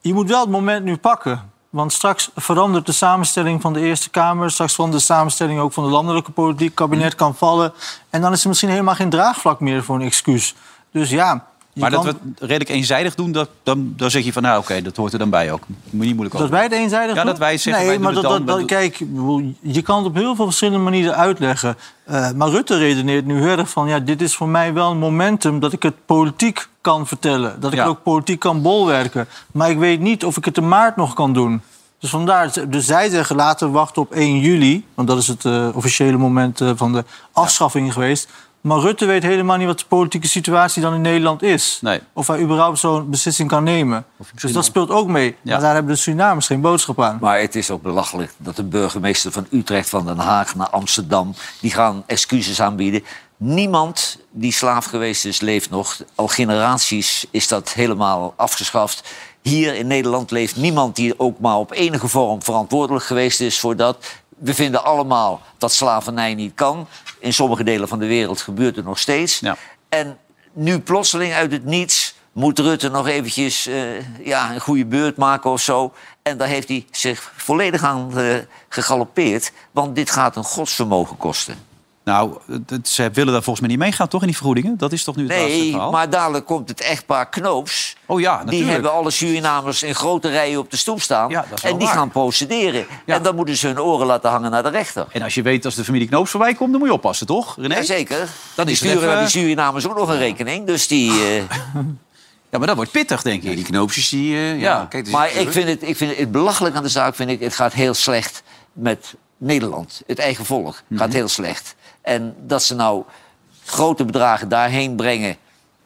D: je moet wel het moment nu pakken. Want straks verandert de samenstelling van de Eerste Kamer... straks verandert de samenstelling ook van de landelijke politiek. Het
A: Mm.
D: kabinet kan vallen. En dan is er misschien helemaal geen draagvlak meer voor een excuus. Dus ja... je
A: Maar dat
D: kan-
A: we het redelijk eenzijdig doen, dat, dan, dan zeg je van... nou, oké, dat hoort er dan bij ook. Moet je niet moeilijk
D: Dat
A: over.
D: wij het
A: Ja,
D: eenzijdig doen?
A: dat wij zeggen,
D: Nee,
A: wij doen het
D: maar dat,
A: dan,
D: dat,
A: we
D: dat- kijk, ik bedoel, je kan het op heel veel verschillende manieren uitleggen. Eh, maar Rutte redeneert nu heel erg van... ja, dit is voor mij wel een momentum dat ik het politiek kan vertellen. Dat ik
A: Ja.
D: het ook politiek kan bolwerken. Maar ik weet niet of ik het in maart nog kan doen. Dus vandaar, dus zij zeggen laten we wachten op 1 juli... want dat is het eh, officiële moment eh, van de afschaffing geweest... Maar Rutte weet helemaal niet wat de politieke situatie dan in Nederland is.
A: Nee.
D: Of hij überhaupt zo'n beslissing kan nemen. Dus dat speelt ook mee.
A: Ja.
D: Maar daar hebben de Surinamers geen boodschap aan.
E: Maar het is ook belachelijk dat de burgemeester van Utrecht, van Den Haag naar Amsterdam... die gaan excuses aanbieden. Niemand die slaaf geweest is, leeft nog. Al generaties is dat helemaal afgeschaft. Hier in Nederland leeft niemand die ook maar op enige vorm verantwoordelijk geweest is voor dat. We vinden allemaal dat slavernij niet kan. In sommige delen van de wereld gebeurt het nog steeds.
A: Ja.
E: En nu plotseling uit het niets moet Rutte nog eventjes eh, ja, een goede beurt maken of zo. En daar heeft hij zich volledig aan eh, gegalopeerd. Want dit gaat een godsvermogen kosten.
A: Nou, het- ze willen daar volgens mij niet meegaan, toch, in die vergoedingen? Dat is toch nu het laatste
E: Nee,
A: verhaal?
E: maar dadelijk komt het echtpaar Knoops.
A: Oh ja, natuurlijk.
E: Die hebben alle Surinamers in grote rijen op de stoep staan.
A: Ja, dat is wel
E: en die
A: waar.
E: gaan procederen.
A: Ja.
E: En dan moeten ze hun oren laten hangen naar de rechter.
A: En als je weet als de familie Knoops voorbij komt, dan moet je oppassen, toch, René?
E: Jazeker.
A: Dan
E: Dan die
A: is het even-
E: sturen naar die Surinamers ook nog een rekening. Dus die... eh,
A: Ja, maar dat wordt pittig, denk
C: Ja, die
A: ik.
C: knoopjes die... eh, ja,
A: Ja,
C: kijk, er zit
E: Maar
C: druk.
E: ik vind, het, ik vind het belachelijk aan de zaak. Vind ik, het gaat heel slecht met Nederland. Het eigen volk gaat heel slecht. En dat ze nou grote bedragen daarheen brengen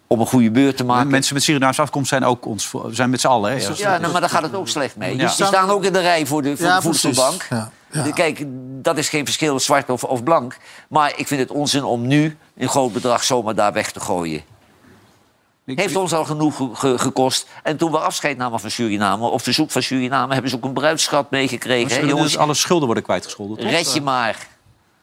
E: om een goede beurt te maken.
A: Mensen met Surinaamse afkomst zijn ook ons, voor- zijn met z'n allen. Hè? Ja,
E: ja, nou, maar daar gaat het ook slecht mee.
A: Ja.
E: Die staan ook in de rij voor de, voor
D: Ja,
E: de
D: precies.
E: voedselbank.
D: Ja,
E: Kijk, dat is geen verschil zwart of, of blank. Maar ik vind het onzin om nu een groot bedrag zomaar daar weg te gooien.
A: Ik-
E: Heeft ons al genoeg ge- ge- gekost. En toen we afscheid namen van Suriname, op verzoek van Suriname, hebben ze ook een bruidschat meegekregen.
A: Ze
E: hè,
A: kunnen
E: jongens,
A: dus alle schulden worden kwijtgescholden, toch?
E: Red je maar.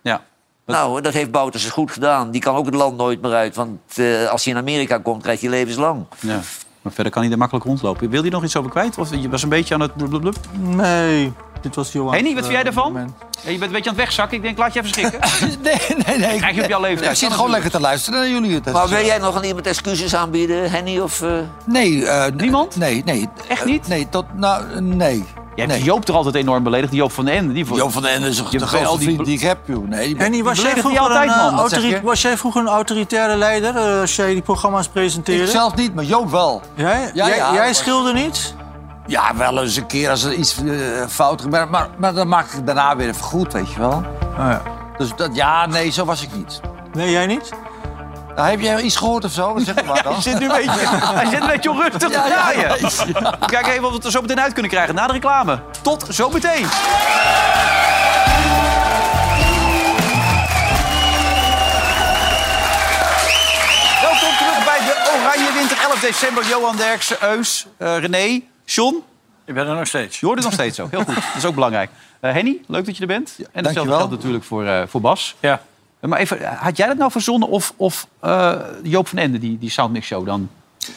A: Ja. Wat-
E: Nou, dat heeft Bouters goed gedaan. Die kan ook het land nooit meer uit. Want eh, als je in Amerika komt, krijg je levenslang.
A: ja. Maar verder kan hij er makkelijk rondlopen. Wil hij nog iets over kwijt? Of je was een beetje aan het blub.
D: Nee, dit was Johan.
A: Henny, wat
B: eh,
A: vind jij daarvan?
D: moment.
A: Ja, je bent een beetje aan het wegzakken. Ik denk, laat je even schrikken.
B: Nee, nee, nee.
A: Krijg je op jouw leeftijd.
B: Ik zit gewoon lekker te luisteren naar jullie. Dat
E: Maar
B: is-
E: wil jij nog aan iemand excuses aanbieden, Henny? Of, eh,
B: Nee. eh, n-
A: Niemand?
B: Nee, nee.
A: Echt niet?
B: Eh, nee, tot, nou, eh, nee.
A: Je hebt Joop er altijd enorm beledigd. Joop van den Ende. Die voor...
B: Joop van den Ende is
A: Je
B: de
A: bent al
B: grootste
A: die
B: vriend
A: be-
B: die ik heb, joh. Nee, die-
D: En die was,
A: Die
D: jij
A: beledigt
D: vroeger,
A: die altijd,
D: een, eh,
A: man. Wat zeg
D: autorit-
A: je?
D: was jij vroeger een autoritaire leider eh, als jij die programma's presenteerde?
B: Ik zelf niet, maar Joop wel.
D: Jij,
B: Ja,
D: jij,
B: ja,
D: jij
B: was-
D: scheelde niet?
B: Ja, wel eens een keer als er iets eh, fout gebeurt. Maar, maar dan maak ik het daarna weer even goed, weet je wel. Dus dat, ja, nee, zo was ik niet.
D: Nee, jij niet?
B: Nou, heb jij iets gehoord of zo? Dan zeg maar dan.
A: Hij zit nu een beetje, hij zit een beetje onrustig te draaien. Kijk even of we het er zo meteen uit kunnen krijgen na de reclame. Tot zo meteen. Welkom terug bij de Oranje Winter 11 december. Johan Derksen, Eus, eh, René, John.
F: Ik ben er nog steeds.
A: Je hoort het nog steeds zo. Heel goed. Dat is ook belangrijk. Eh, Henny, leuk dat je er bent. en hetzelfde
B: dankjewel.
A: geldt natuurlijk voor, eh, voor Bas.
F: Ja.
A: Eh, Maar even, had jij dat nou verzonnen of, of eh, Joop van Ende, die, die Soundmix Show dan?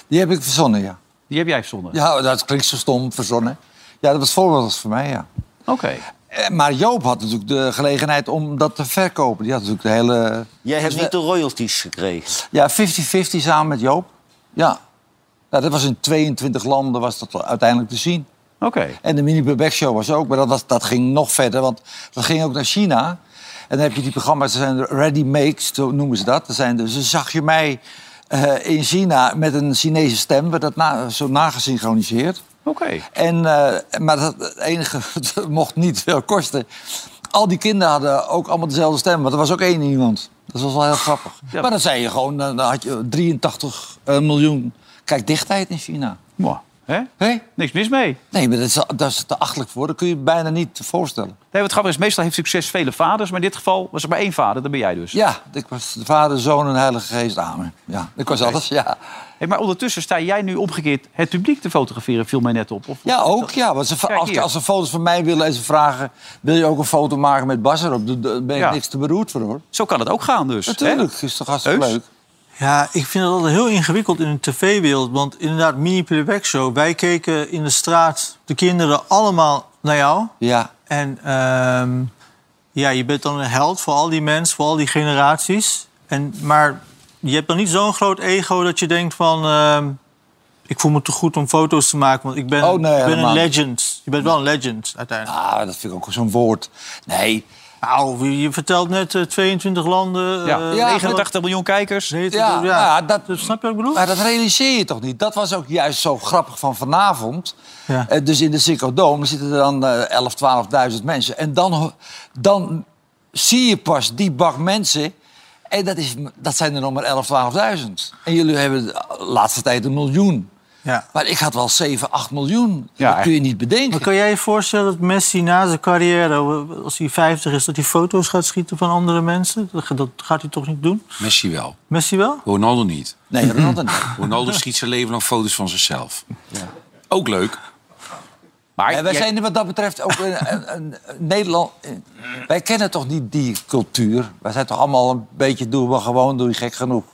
B: Die heb ik verzonnen, ja.
A: Die heb jij verzonnen?
B: Ja, dat klinkt zo stom, verzonnen. Ja, dat was voorbeeld voor mij, ja.
A: Oké.
B: Eh, Maar Joop had natuurlijk de gelegenheid om dat te verkopen. Die had natuurlijk de hele...
E: Jij hebt
B: Dus
E: niet de royalties gekregen.
B: Ja, 50-50 samen met Joop. Ja. ja. Dat was in 22 landen was dat uiteindelijk te zien.
A: Oké.
B: En de mini Bubek Show was ook. Maar dat, was, dat ging nog verder, want dat ging ook naar China. En dan heb je die programma's, dat zijn de ready makes, zo noemen ze dat. Dat zijn dus, dan zag je mij eh, in China met een Chinese stem. werd dat na, zo nagesynchroniseerd.
A: Oké.
B: En, eh, maar dat het enige dat mocht niet veel kosten. Al die kinderen hadden ook allemaal dezelfde stem, maar er was ook één iemand. Dat was wel heel grappig.
A: Ja.
B: Maar dan zei je gewoon, dan had je 83 eh, miljoen kijkdichtheid in China.
A: Mwah. Hè?
B: Hé?
A: Niks mis mee.
B: Nee, maar dat is, dat is te achtelijk voor. Dat kun je je bijna niet voorstellen.
A: Nee, wat grappig is, meestal heeft succes vele vaders. Maar in dit geval was er maar één vader, dat ben jij dus.
B: Ja, ik was de vader, zoon en heilige geest. Amen. Ja, ik was alles, ja.
A: Hey, maar ondertussen sta jij nu omgekeerd het publiek te fotograferen, viel mij net op. Of...
B: Ja, ook. Ja. Want ze,
A: Kijk
B: als,
A: hier.
B: als ze foto's van mij willen en ze vragen... wil je ook een foto maken met Bas erop? Dan dan ben ik
A: Ja.
B: niks te beroerd voor, hoor.
A: Zo kan het ook gaan dus. hè?
B: Natuurlijk, is toch hartstikke
A: Heus?
B: leuk.
D: Ja, ik vind dat altijd heel ingewikkeld in een tv-wereld. Want inderdaad, mini playback show. Wij keken in de straat, de kinderen, allemaal naar jou.
B: Ja.
D: En ehm, ja, je bent dan een held voor al die mensen, voor al die generaties. En, maar je hebt dan niet zo'n groot ego dat je denkt van... ehm, ik voel me te goed om foto's te maken, want ik ben,
B: Oh, nee,
D: ik ben een
B: helemaal niet.
D: legend. Je bent wel een legend, uiteindelijk.
B: Ah, dat vind ik ook zo'n woord. Nee.
D: Nou, je- je vertelt net eh, 22 landen.
A: Ja,
D: eh,
B: Ja,
A: 89 miljoen kijkers.
D: weet ik
B: Ja, nou
D: wel, ja.
B: ja, dat-
D: Dus snap je wat ik bedoel?
B: Maar Ah, dat realiseer je toch niet? Dat was ook juist zo grappig van vanavond.
D: Ja.
B: Eh, dus in de Ziggo Dome zitten er dan eh, 11, 12.000 mensen. En dan, ho- dan zie je pas die bak mensen. En dat, is, dat zijn er nog maar 11, 12.000. En jullie hebben de laatste tijd een miljoen.
D: Ja.
B: Maar ik had wel 7, 8 miljoen.
A: Ja,
B: dat kun je niet
D: Maar
B: bedenken.
D: kan jij je voorstellen dat Messi na zijn carrière, eh, als hij 50 is, dat hij foto's gaat schieten van andere mensen? Dat- Dat gaat hij toch niet doen?
C: Messi wel.
D: Messi wel?
C: Ronaldo niet.
B: Nee, Ronaldo niet.
C: Ronaldo schiet zijn leven lang foto's van zichzelf. Ook leuk.
A: Maar
B: Ja, Eh, wij
A: jij-
B: zijn wat dat betreft ook een, een, een- een Nederland. een- Wij kennen toch niet die cultuur? Wij zijn toch allemaal een beetje doen we gewoon, doe je gek genoeg.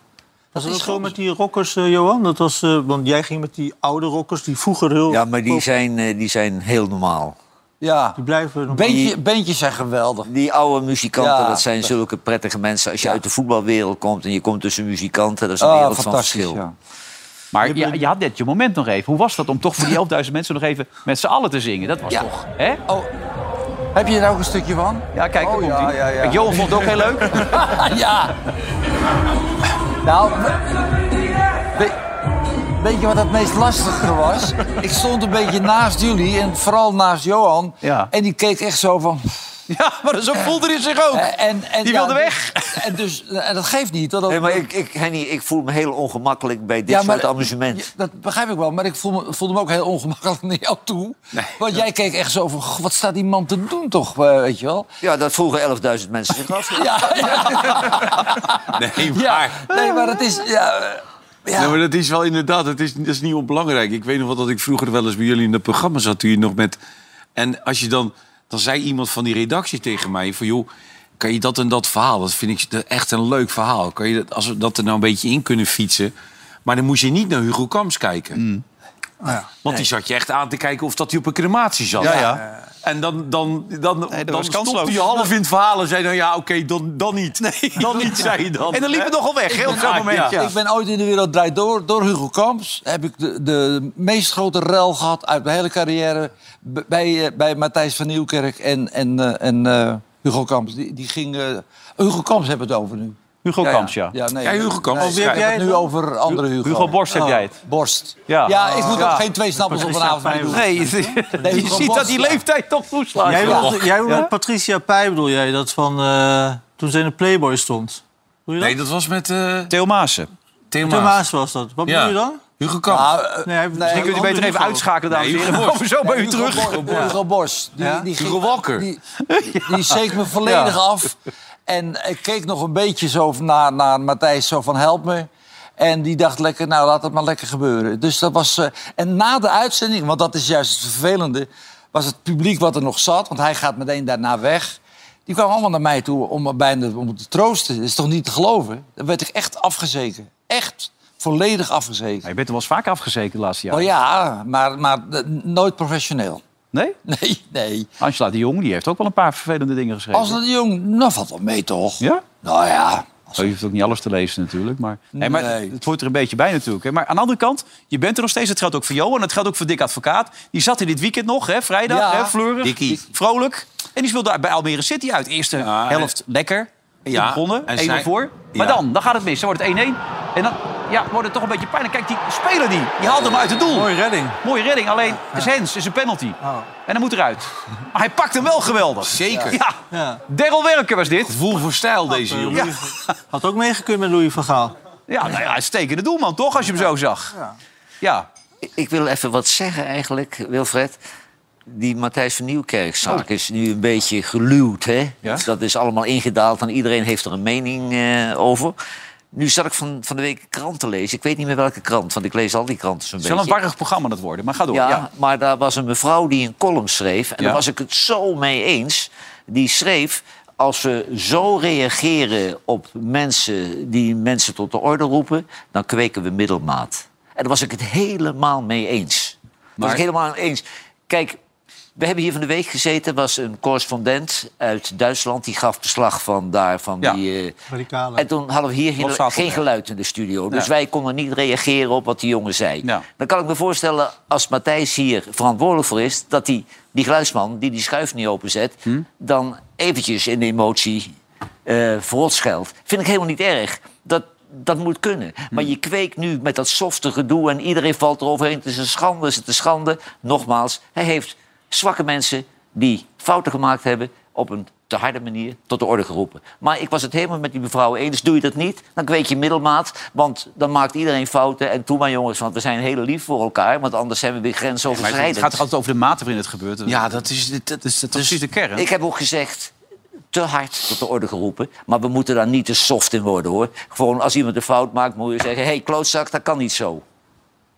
D: Was
B: is
D: dat zo
B: gewoon
D: met die rockers, eh, Johan? Dat was, eh, want jij ging met die oude rockers die vroeger heel...
E: Ja, maar die
D: pop-
E: zijn, eh, die zijn heel normaal.
B: Ja,
D: Die blijven... nog-
B: Beentje, beentjes zijn geweldig.
E: Die oude muzikanten,
B: Ja.
E: dat zijn zulke prettige mensen. Als je uit de voetbalwereld komt en je komt tussen muzikanten, dat is een
B: Ah,
E: wereld van
B: fantastisch.
E: verschil.
B: Ja.
A: maar je, je had net je moment nog even. Hoe was dat om toch voor die 11.000 mensen nog even met z'n allen te zingen? Dat was
B: Ja.
A: toch... Hè?
B: Oh, heb je daar ook een stukje van?
A: Ja, kijk, daar
B: Oh,
A: komt
B: ja, ja, ja.
A: Johan vond het ook heel leuk.
B: ja. Nou, we- we- weet je wat het meest lastige was? Ik stond een beetje naast jullie en vooral naast Johan.
A: Ja.
B: En die keek echt zo van.
A: ja, maar zo voelde hij zich ook.
B: Eh, En, en,
A: Die wilde weg.
B: En, dus, en dat geeft niet. want dat-
E: Nee, maar ik, ik, Henny, ik voel me heel ongemakkelijk bij dit
B: Ja, maar-
E: soort amusement.
B: Ja, dat begrijp ik wel, maar ik voel me, voelde me ook heel ongemakkelijk naar jou toe. Want jij keek echt zo van, "Goh, wat staat die man te doen toch, eh, weet je wel?
E: Ja, dat vroegen 11.000 mensen zich
B: Ja,
E: af.
B: ja,
C: Nee, maar...
B: ja. Nee, maar dat is... Ja, eh, ja.
C: Nee, maar dat is wel inderdaad, dat is, dat is niet onbelangrijk. Ik weet nog wel dat ik vroeger wel eens bij jullie in het programma zat. Toen je nog met. En als je dan. Dan zei iemand van die redactie tegen mij: van joh, kan je dat en dat verhaal? Dat vind ik de- echt een leuk verhaal. Kan je dat, als we dat er nou een beetje in kunnen fietsen. Maar dan moest je niet naar Hugo
A: Mm.
C: Kams kijken. Want die zat je echt aan te kijken of dat hij op een crematie zat.
B: ja.
C: En dan, dan, dan, dan
I: was
C: stopte
I: kansloos.
C: je half in het verhaal en zei dan... Ja, oké, dan, dan niet. Dan niet, zei je dan.
A: En dan liep
C: hè?
A: het nogal weg, hè, op zo'n
C: Ja,
A: moment.
C: ja.
B: Ik ben ooit in de wereld draait door. Door Hugo Kamps heb ik de, de meest grote rel gehad uit mijn hele carrière. b- Bij, eh, bij Matthijs van Nieuwkerk en, en, eh, en eh, Hugo Kamps. Die, die ging, eh, Hugo Kamps hebben we het over nu.
A: Hugo Kamps, ja.
B: Ja, nee.
C: Ja, Hugo Kamps.
B: Nee,
C: Oh,
B: wie heb jij het nu over andere Hugo? Oh,
A: Hugo Borst heb jij het.
B: Borst.
A: Ja.
B: Ja, ik moet
A: Ja.
B: ook geen twee snappers op een avond meer doen.
A: Nee, je,
B: Nee, Hugo
A: ziet dat
B: Borst,
A: die
B: ja.
A: leeftijd toch toeslaat.
D: Jij
A: Ja.
D: bedoelt, jij bedoelt met Patricia Pij bedoel jij dat van eh, toen ze in de Playboy stond. Bedoel je
C: Nee,
D: dat?
C: dat was met eh
A: Theo Maassen.
C: Theo
D: Toen
C: Maas.
D: Maas was dat. Wat
C: Ja.
D: bedoel je dan?
C: Hugo Kamp.
B: Eh,
D: Nee, hij-
A: Die kunt u
D: Hugo
A: beter even
D: Hugo.
A: uitschakelen, dames en heren. Dan komen we zo bij u
B: Hugo
A: terug.
B: Borst- Hugo Borst. Die, die ging-
C: Hugo Walker.
B: Die, die, die zeek me volledig af. En ik keek nog een beetje zo naar, naar Matthijs, zo van help me. En die dacht lekker, nou laat het maar lekker gebeuren. Dus dat was. eh, en na de uitzending, want dat is juist het vervelende, was het publiek wat er nog zat, want hij gaat meteen daarna weg. Die kwamen allemaal naar mij toe om me bijna om te troosten. Dat is toch niet te geloven? Dan werd ik echt afgezeken. Echt volledig afgezeken.
A: Nou, Je bent er wel eens vaak afgezekerd de laatste
B: Oh
A: jaren.
B: ja, maar, maar eh, nooit professioneel.
A: Nee?
B: Nee, nee.
A: Angela de Jong die heeft ook wel een paar vervelende dingen geschreven.
B: Als dat jong, nou valt wel mee toch?
A: Ja?
B: Nou ja.
A: Zo, je hoeft ook niet alles te lezen natuurlijk. Maar, Hé, maar
B: Nee.
A: het hoort er een beetje bij natuurlijk. Hè. Maar aan de andere kant, je bent er nog steeds. Dat geldt ook voor Johan. Dat geldt ook voor Dick Advocaat. Die zat in dit weekend nog, hè, vrijdag.
B: Ja.
A: Hè, fleurig,
C: Dikkie.
A: vrolijk. En die speelde bij Almere City uit. Eerste
C: Ja,
A: helft lekker. Ja,
C: Ja,
A: begonnen,
C: en
A: 1-0
C: zij-
A: voor. Maar
C: Ja.
A: dan, dan gaat het mis. Dan wordt het 1-1. En dan ja, wordt het toch een beetje pijnlijk. Kijk, die speler die, die haalt hem uit het doel.
D: Mooie redding.
A: Mooie redding, alleen Zens is een penalty. En hij moet eruit. Maar hij pakt hem wel geweldig.
C: Oh. Zeker.
A: Ja,
D: Ja.
A: Daryl Werker was dit.
C: Gevoel voor stijl deze jongen.
A: Ja,
D: Had ook meegekund met Louis van Gaal.
A: ja nou ja, uitstekende doelman toch, als je hem zo zag. Ja,
E: Ik wil even wat zeggen eigenlijk, Wilfred. Die Matthijs van Nieuwkerkzaak is nu een beetje geluwd. Hè?
A: Ja.
E: Dat is allemaal ingedaald en iedereen heeft er een mening eh, over. Nu zat ik van, van de week een krant te lezen. Ik weet niet meer welke krant, want ik lees al die kranten zo'n
A: het is
E: beetje.
A: wel een warrig programma dat worden, maar ga door.
E: Ja,
A: Ja.
E: maar daar was een mevrouw die een column schreef. En
A: Ja.
E: daar was ik het zo mee eens. Die schreef, als we zo reageren op mensen die mensen tot de orde roepen... dan kweken we middelmaat. En daar was ik het helemaal mee eens. Daar was ik helemaal mee eens. Kijk, we hebben hier van de week gezeten. was een correspondent uit Duitsland. Die gaf beslag van daar, van
A: Ja.
E: die... eh,
D: Radicale.
E: en toen hadden we hier geen,
A: Loszatel,
E: geen
A: ja.
E: geluid in de studio. Dus
A: Ja.
E: wij konden niet reageren op wat die jongen zei.
A: Ja.
E: Dan kan ik me voorstellen, als Matthijs hier verantwoordelijk voor is... dat die, die geluidsman, die die schuif niet openzet...
A: Hm?
E: dan eventjes in de emotie eh verrot scheldt. Vind ik helemaal niet erg. Dat, dat moet kunnen.
A: Hm.
E: Maar je kweekt nu met dat softe gedoe... en iedereen valt eroverheen. Het is een schande, het is een schande. Nogmaals, hij heeft zwakke mensen die fouten gemaakt hebben... op een te harde manier tot de orde geroepen. Maar ik was het helemaal met die mevrouw eens. Dus Doe je dat niet, dan kweek je middelmaat. Want dan maakt iedereen fouten. En toe maar jongens, want we zijn heel lief voor elkaar. Want anders zijn we weer
A: Maar het- het
E: grensoverschrijdend.
A: gaat toch altijd over de mate waarin het gebeurt. Dat
C: Ja, dat is, dat, dat is,
A: is
C: dat is
A: precies de kern.
E: Ik heb ook gezegd, te hard tot de orde geroepen. Maar we moeten daar niet te soft in worden, hoor. Gewoon als iemand een fout maakt, moet je zeggen... hé, hey, klootzak, dat kan niet zo.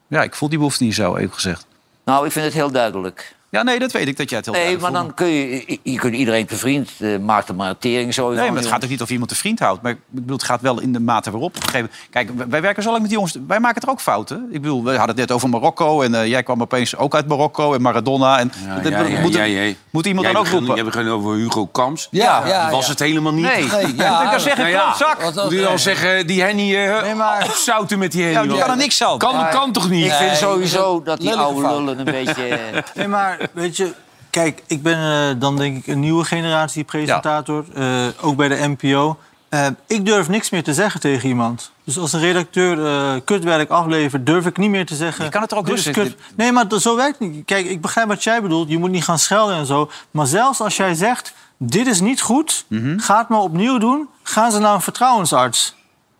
A: Ja, ik voel die behoefte niet zo, even gezegd.
E: Nou, ik vind het heel duidelijk.
A: Ja, nee, dat weet ik dat jij het heel
E: Nee,
A: duidelijk
E: maar
A: voelt.
E: dan kun je... Je kunt iedereen bevriend, eh, maak er maar een tering zo.
A: Nee, maar het gaat ook niet of iemand een vriend houdt. Maar ik bedoel, het gaat wel in de mate waarop. Op een gegeven moment- Kijk, wij- wij werken zo lang met die jongens. Wij maken er ook fouten. Ik bedoel, we hadden het net over Marokko. En eh, jij kwam opeens ook uit Marokko. En Maradona. En
C: Ja,
A: dat-
C: ja,
A: dat-
C: ja,
A: moet,
C: ja,
A: het-
C: ja.
A: moet iemand
C: Jij
A: dan ook
C: begint-
A: roepen?
C: Jij begint over Hugo Kamps.
B: Ja, ja,
C: Dat was
B: ja.
C: het helemaal niet.
A: Nee,
B: Nee, ja.
A: ik kan zeggen,
C: Nou ja.
A: klootzak.
B: Wat-
C: Moet je dan zeggen, die Henny eh opzouten met die Henny?
A: Ja, die
C: want-
A: kan er niks aan.
C: Kan, kan toch niet?
E: Ik vind sowieso dat die
B: lelijke
E: oude
B: fout.
E: lullen een beetje... eh,
D: Nee, maar weet je, kijk, ik ben eh, dan denk ik een nieuwe generatie presentator, eh, ook bij de NPO. Eh, ik durf niks meer te zeggen tegen iemand. Dus als een redacteur eh, kutwerk aflevert, durf ik niet meer te zeggen.
A: Je kan het er ook
D: dit
A: rustig-
D: is kut. Nee, maar dat- zo werkt het niet. Kijk, ik begrijp wat jij bedoelt. Je moet niet gaan schelden en zo. Maar zelfs als jij zegt: dit is niet goed,
A: Mhm.
D: ga het maar opnieuw doen, gaan ze naar een vertrouwensarts.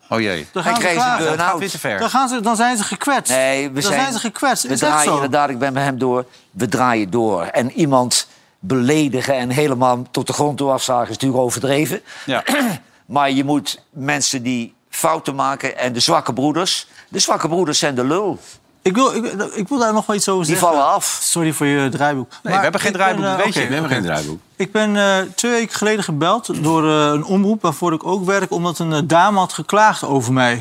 A: Oh jee.
D: Dan
E: Hij
D: gaan ze
E: krijgt een
D: klagen.
A: Dat gaat
E: burn-out.
A: weer te ver.
D: Dan, gaan ze, dan zijn ze gekwetst.
E: Nee, we
D: dan zijn, ze gekwetst.
E: We
D: Is echt
E: draaien
D: zo.
E: inderdaad, ik ben bij hem door. We draaien door. En iemand beledigen en helemaal tot de grond toe afzagen is natuurlijk overdreven.
A: Ja.
E: maar je moet mensen die fouten maken en de zwakke broeders... De zwakke broeders zijn de lul.
D: Ik wil, ik, ik wil daar nog wel iets over
E: Die
D: zeggen.
E: vallen af.
D: Sorry voor je draaiboek.
A: Nee, we hebben geen
D: ik ben,
A: draaiboek,
D: eh,
A: dat weet je.
D: oké.
C: We hebben geen draaiboek.
D: Ik ben eh, twee weken
E: Hmm.
D: geleden gebeld door eh, een omroep waarvoor ik ook werk... omdat een eh, dame had geklaagd over mij.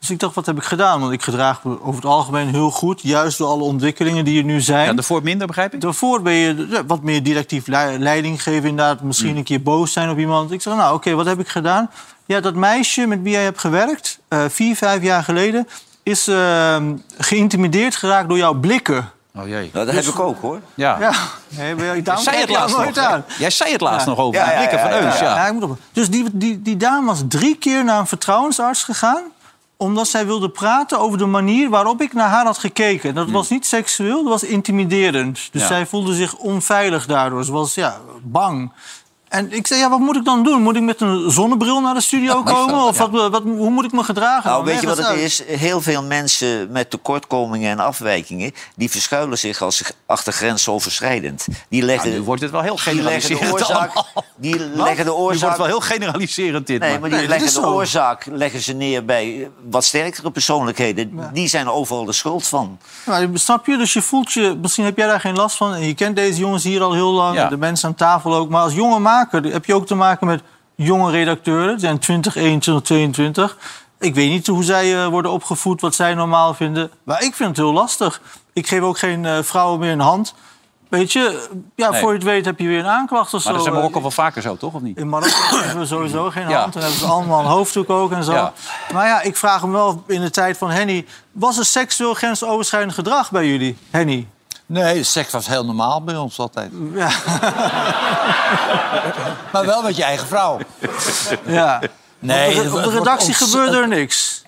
D: Dus ik dacht, wat heb ik gedaan? Want ik gedraag me over het algemeen heel goed. Juist door alle ontwikkelingen die er nu zijn.
A: Ja, daarvoor minder, begrijp ik?
D: Daarvoor ben je ja, wat meer directief le- leiding geven. Inderdaad, misschien
A: Mm.
D: een keer boos zijn op iemand. Ik zeg, nou oké, wat heb ik gedaan? Ja, dat meisje met wie jij hebt gewerkt, eh, vier, vijf jaar geleden... is eh, geïntimideerd geraakt door jouw blikken.
A: Oh jee.
E: Nou, dat heb ik ook, hoor.
A: Ja.
D: Ja, nee, maar ja, daarom
A: Zei
D: kijk
A: het
D: je dat
A: laatst nog.
D: nooit aan.
A: hè? Jij zei het laatst
D: Ja.
A: nog over
E: Ja,
A: die
E: ja,
A: blikken
E: ja,
A: van
E: ja,
A: Eus.
D: Ja,
A: Ja.
D: ik moet op. Dus die, die, die dame was drie keer naar een vertrouwensarts gegaan... omdat zij wilde praten over de manier waarop ik naar haar had gekeken.
E: Hmm.
D: Dat was niet seksueel, dat was intimiderend. Dus
A: Ja.
D: zij voelde zich onveilig daardoor. Ze was ja, bang. En ik zei, ja, wat moet ik dan doen? Moet ik met een zonnebril naar de studio komen? Of wat, wat, hoe moet ik me gedragen?
E: Nou, weet je wat
D: Leg
E: het
D: eens uit.
E: is? Heel veel mensen met tekortkomingen en afwijkingen... die verschuilen zich als achter grensoverschrijdend. Die leggen,
A: Nu wordt het wel heel
E: die leggen de
A: generaliserend
E: oorzaak...
A: allemaal.
E: Die
A: Wat?
E: leggen
A: Nu
E: de
A: wordt
E: oorzaak...
A: het wel heel generaliserend dit.
E: Nee,
A: maar-
E: maar die
D: Nee, dat
E: leggen
D: is
E: de
D: zo.
E: oorzaak leggen ze neer bij eh, wat sterkere persoonlijkheden. Die zijn overal de schuld van.
D: Nou, snap je? Dus je voelt je... Misschien heb jij daar geen last van. En je kent deze jongens hier al heel lang.
A: Ja.
D: De mensen aan tafel ook. Maar als jonge maker heb je ook te maken met jonge redacteuren. Die zijn 20, 21, 22. Ik weet niet hoe zij eh, worden opgevoed, wat zij normaal vinden. Maar ik vind het heel lastig. Ik geef ook geen eh, vrouwen meer een hand. Weet je, ja,
A: Nee.
D: voor je het weet heb je weer een aanklacht of
A: Maar dat
D: zo.
A: is in Marokko
D: Eh,
A: wel vaker zo, toch? Of niet?
D: in Marokko hebben we sowieso geen
A: Ja.
D: hand. En hebben ze allemaal een hoofddoek ook en zo.
A: Ja.
D: Maar ja, ik vraag hem wel in de tijd van Henny... was er seksueel grensoverschrijdend gedrag bij jullie, Henny?
B: Nee, seks was heel normaal bij ons altijd.
D: Ja.
B: Maar wel met je eigen vrouw.
D: ja.
B: Nee,
D: op, de, op de redactie gebeurde er niks.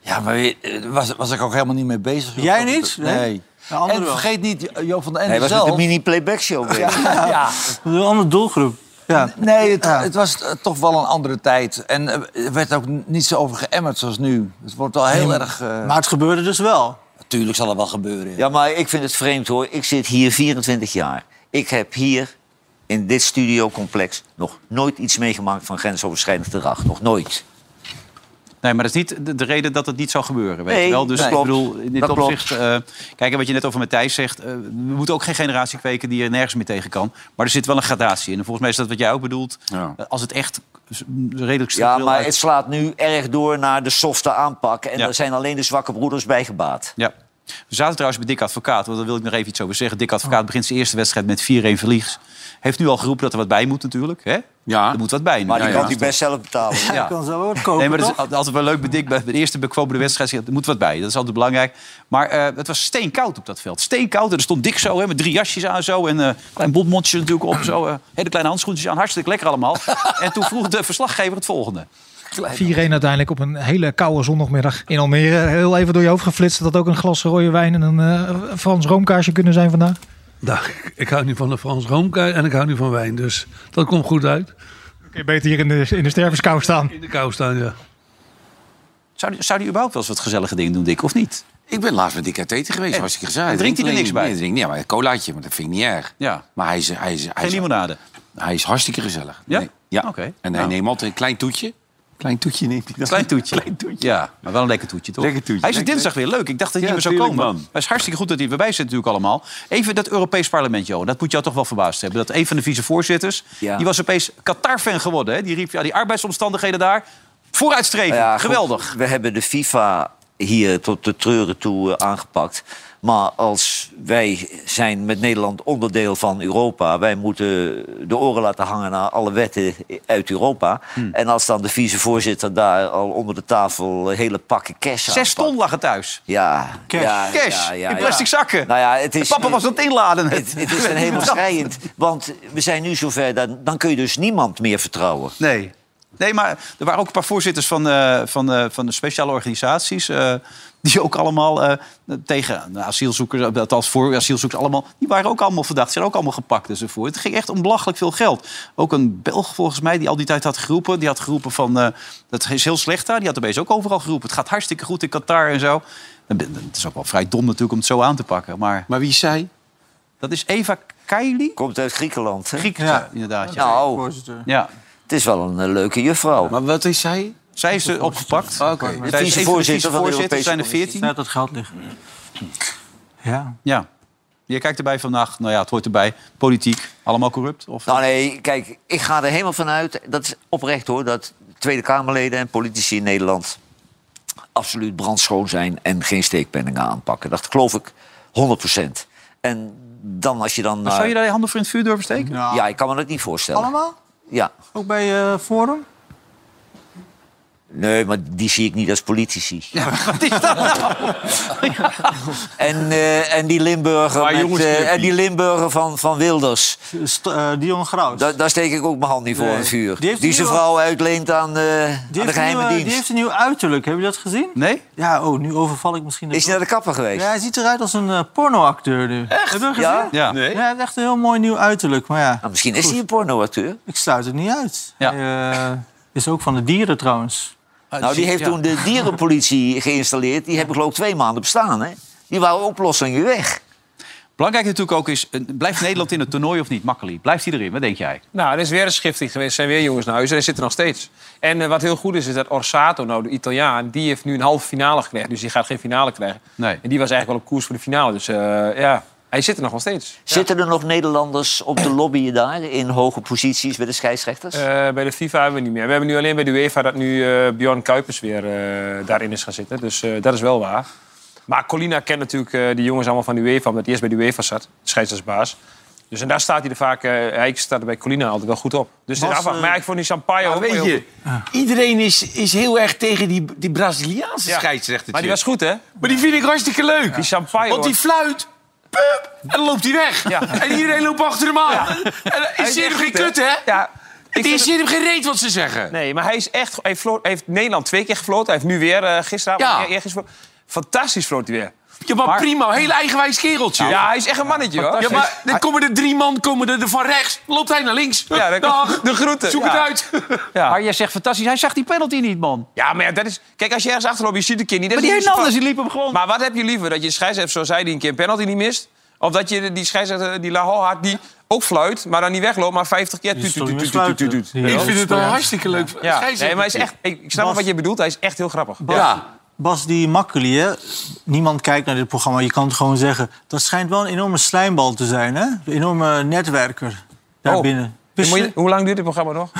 B: Ja, maar weet- eh, was, was ik ook helemaal niet mee bezig. joh.
D: Jij niet?
B: Nee.
D: Nee. De anderen
B: En
D: wel.
B: vergeet niet, Jo van den Ende
E: Hij was met
B: zelf.
E: de mini-playback show. bezig.
B: ja.
D: Een andere doelgroep. Ja.
B: Nee, het,
D: Ja.
B: het was eh, toch wel een andere tijd. En eh, er werd ook n- niet zo over geëmmerd zoals nu. Het wordt al heel erg... eh,
D: Maar het gebeurde dus wel.
B: Natuurlijk zal het wel gebeuren.
E: Ja, maar ik vind het vreemd hoor. Ik zit hier 24 jaar. Ik heb hier in dit studiocomplex nog nooit iets meegemaakt van grensoverschrijdend gedrag. Nog nooit.
A: Nee, maar dat is niet de, de reden dat het niet zou gebeuren. Weet
E: Nee,
A: je wel? Dus
E: dat
A: ik
E: klopt.
A: bedoel, in dit
E: Dat klopt.
A: opzicht. eh, kijk, en wat je net over Matthijs zegt. eh, we moeten ook geen generatie kweken die er nergens meer tegen kan. Maar er zit wel een gradatie in. En volgens mij is dat wat jij ook bedoelt.
C: Ja.
A: Eh, Als het echt s- redelijk
E: Ja,
A: structureel
E: maar
A: uit-
E: het slaat nu erg door naar de softe aanpak. En
A: Ja.
E: daar zijn alleen de zwakke broeders bij gebaat.
A: Ja. We zaten trouwens bij Dick Advocaat, want daar wil ik nog even iets over zeggen. Dick Advocaat begint zijn eerste wedstrijd met 4-1 verlies. Heeft nu al geroepen dat er wat bij moet natuurlijk. Hè?
C: Ja.
A: Er moet wat bij. nu.
E: Maar die
A: Ja,
E: kan
A: ja.
E: hij best zelf betalen.
A: Ja.
D: Ik kan zo ook kopen,
A: Nee, maar dat
D: toch?
A: is al- altijd wel leuk bij Dick. Bij bij de eerste bekwomende wedstrijd zegt, er moet wat bij. Dat is altijd belangrijk. Maar eh, het was steenkoud op dat veld. Steenkoud. En er stond Dick zo, hè, met drie jasjes aan zo. En een klein bondmondje natuurlijk op. Zo, eh, hele kleine handschoentjes aan. Hartstikke lekker allemaal. en toen vroeg de verslaggever het volgende.
L: 4-1 uiteindelijk op een hele koude zondagmiddag in Almere. Heel even door je hoofd geflitst dat dat ook een glas rode wijn en een eh, Frans roomkaarsje kunnen zijn vandaag.
M: Dag, ik- Nou, ik hou nu van de Frans Roomkaart en ik hou nu van wijn. Dus dat komt goed uit.
L: Kun je beter hier in de, in de stervenskou staan.
M: In de kou staan, ja.
A: Zou die, zou die überhaupt wel eens wat gezellige dingen doen, Dick? Of niet?
C: Ik ben laatst met Dick uit eten geweest, hartstikke gezellig.
A: Eh, drinkt hij er
C: alleen-
A: niks bij?
C: Nee, drinkt niet. Ja, maar een colaatje, maar dat vind ik niet erg.
A: Ja.
C: Maar hij is, hij is, hij
A: Geen
C: is,
A: limonade.
C: hij is hartstikke gezellig.
A: Ja?
C: Nee, ja.
A: Oké.
C: En hij
A: Nou.
C: neemt altijd een klein toetje. Klein toetje neemt hij dan.
A: Klein toetje. Ja, maar wel een lekker toetje, toch?
C: Lekker toetje.
A: Hij is er
C: Lekker,
A: dinsdag weer leuk. Ik dacht dat hij
C: Ja,
A: niet meer zou
C: tuurlijk,
A: komen.
C: man.
A: Maar het is hartstikke goed dat hij er weer bij zit natuurlijk allemaal. Even dat Europees parlement, Johan. Dat moet jou toch wel verbaasd hebben. Dat een van de vicevoorzitters...
E: Ja.
A: die was opeens Qatar-fan geworden. Hè? Die riep, ja, die arbeidsomstandigheden daar... vooruitstreven.
C: Ah
E: Nou ja, goed,
A: Geweldig.
E: we hebben de FIFA hier tot de treuren toe eh, aangepakt. Maar als wij zijn met Nederland onderdeel van Europa... wij moeten de oren laten hangen naar alle wetten uit Europa.
A: Hmm.
E: En als dan de vicevoorzitter daar al onder de tafel... hele pakken cash
A: Zes
E: aanpakt.
A: ton lagen thuis.
E: Ja,
D: Cash.
E: ja,
A: Cash,
E: ja, ja,
A: in
E: ja.
A: plastic zakken.
E: Nou ja, het is,
A: Papa was aan het inladen.
E: het, het is dan helemaal schrijend. Want we zijn nu zover, dan, dan kun je dus niemand meer vertrouwen.
A: Nee. Nee, maar er waren ook een paar voorzitters van, eh, van, eh, van de speciale organisaties. eh, die ook allemaal eh, tegen nou, asielzoekers, eh, althans voor asielzoekers allemaal. die waren ook allemaal verdacht. zijn ook allemaal gepakt enzovoort. Het ging echt om belachelijk veel geld. Ook een Belg volgens mij, die al die tijd had geroepen. die had geroepen van. eh, dat is heel slecht daar. Die had opeens ook overal geroepen. Het gaat hartstikke goed in Qatar en zo. Dan ben- Het is ook wel vrij dom natuurlijk om het zo aan te pakken. Maar
C: Maar wie zei?
A: dat is Eva Kaili.
E: Komt uit Griekenland. hè?
A: Griek, inderdaad. Ja.
E: Nou,
A: ja.
E: het is wel een eh, leuke juffrouw.
C: Maar wat is zij?
A: Zij is eh, opgepakt. Zij is een van de
E: vicevoorzitter van de
A: vicevoorzitters, zijn er
E: Europese
A: 14.
D: Net dat geld liggen. Ja.
A: Ja. Je kijkt erbij vandaag, nou ja, het hoort erbij. Politiek, allemaal corrupt? Of...
E: Nou nee, kijk, ik ga er helemaal vanuit. Dat is oprecht hoor, dat Tweede Kamerleden en politici in Nederland absoluut brandschoon zijn en geen steekpenningen aanpakken. Dat geloof ik 100 En dan als je dan...
A: Maar zou je
E: eh,
A: daar je handen voor in het vuur durven steken?
E: Ja, ik kan me dat niet voorstellen.
D: Allemaal?
E: Ja.
D: Ook bij eh, Forum?
E: Nee, maar die zie ik niet als politici. en, eh, en die Limburger,
D: Maar
E: met,
D: jongens,
E: eh,
D: die heb
E: en die Limburger van, van Wilders.
D: eh, Dion Graus.
E: Da- daar steek ik ook mijn hand niet voor
D: Nee.
E: in het vuur.
D: Die
E: Die,
D: heeft een
E: zijn
D: nieuwe-
E: vrouw uitleent aan, eh, aan de
D: heeft een
E: geheime
D: nieuwe-
E: dienst.
D: die heeft een nieuw uiterlijk. Heb je dat gezien?
A: Nee?
D: Ja, oh, nu overval ik misschien...
E: Is hij naar de kapper geweest?
D: Ja, hij ziet eruit als een eh, pornoacteur nu. Echt? Heb je dat gezien?
E: Ja? Ja. Nee.
D: hij heeft echt een heel mooi nieuw uiterlijk. Maar ja,
E: Nou, misschien is hij een pornoacteur.
D: Ik sluit het niet uit. Hij, eh, is ook van de dieren trouwens.
E: Nou, die heeft toen de dierenpolitie geïnstalleerd. Die hebben geloof ik twee maanden bestaan, hè? Die waren oplossingen weg.
A: Belangrijk natuurlijk ook is, eh, blijft Nederland in het toernooi of niet? Makkelijk. Blijft hij erin? Wat denk jij?
I: Nou, er is weer een schifting geweest. Er zijn weer jongens naar huis. En er zitten nog steeds. En eh, wat heel goed is, is dat Orsato, nou, de Italiaan... die heeft nu een halve finale gekregen. Dus die gaat geen finale krijgen.
A: Nee.
I: En die was eigenlijk wel op koers voor de finale. Dus eh, ja, hij zit er nog wel steeds.
E: Zitten er nog Nederlanders op de lobbyen daar in hoge posities bij de scheidsrechters?
I: Eh, bij de FIFA hebben we niet meer. We hebben nu alleen bij de UEFA dat nu eh Bjorn Kuipers weer eh, daarin is gaan zitten. Dus eh, dat is wel waar. Maar Colina kent natuurlijk eh die jongens allemaal van de UEFA, omdat hij eerst bij de UEFA zat, scheidsrechtsbaas. Dus en daar staat hij er vaak, eh, hij staat er bij Colina altijd wel goed op. Dus
C: Was,
I: dit afwacht.
C: eh,
I: Maar ik vond die Sampaio ook wel
C: weet
I: heel
C: je, iedereen is, is heel erg tegen die, die Braziliaanse
I: Ja.
C: scheidsrechter.
I: Maar die was goed, hè?
C: Maar die vind ik hartstikke leuk.
I: Die champagne.
C: Want die fluit. Pup, en dan loopt hij weg. En iedereen loopt achter hem aan. En
I: Hij
C: is
I: is
C: hier
I: echt
C: hem geen
I: goed, hè?
C: kut, hè?
I: Ja.
C: Het
I: vind
C: is hier hem
I: het-
C: geen reet wat ze zeggen.
I: Nee, maar hij is echt. Hij floot- hij heeft Nederland twee keer gefloten. Hij heeft nu weer eh gisteren.
C: Ja.
I: Fantastisch floot hij weer.
C: Ja, maar, prima. Heel eigenwijs kereltje.
I: Ja, hij is echt een mannetje, hoor.
C: Ja, maar dan komen er drie man komen er van rechts. Loopt hij naar links.
I: Ja, dan-
C: Dag.
I: de groeten.
C: Zoek
I: Ja.
C: het uit.
I: Ja.
A: Maar jij zegt fantastisch, hij zag die penalty niet, man.
I: Ja, maar ja, dat is. Kijk, als je ergens achterloopt, je ziet de kind niet. Dat
A: Maar die
I: is niet zo
A: Hernandez,
I: fout.
A: die liep hem gewoon.
I: Maar wat heb je liever? Dat je scheidsrechter, zoals hij, die een keer een penalty niet mist? Of dat je die scheidsrechter, die Lahal had, die ook fluit, maar dan niet wegloopt, maar 50 keer. tuut,
D: Dus
I: tuut, tuut, tuut, tuut, tuut.
C: Ik vind het een
I: Ja.
C: hartstikke leuk.
I: Ja, nee,
C: scheidsrechter.
I: maar hij is echt, ik ik snap
D: Bas-
I: wat je bedoelt. Hij is echt heel grappig.
D: Bas, Bas die Makkeli, hè? niemand kijkt naar dit programma. Je kan het gewoon zeggen. Dat schijnt wel een enorme slijmbal te zijn, hè? Een enorme netwerker daarbinnen.
I: Oh. Dan
D: Wist
I: moet
D: je-
I: je- hoe lang duurt dit programma nog?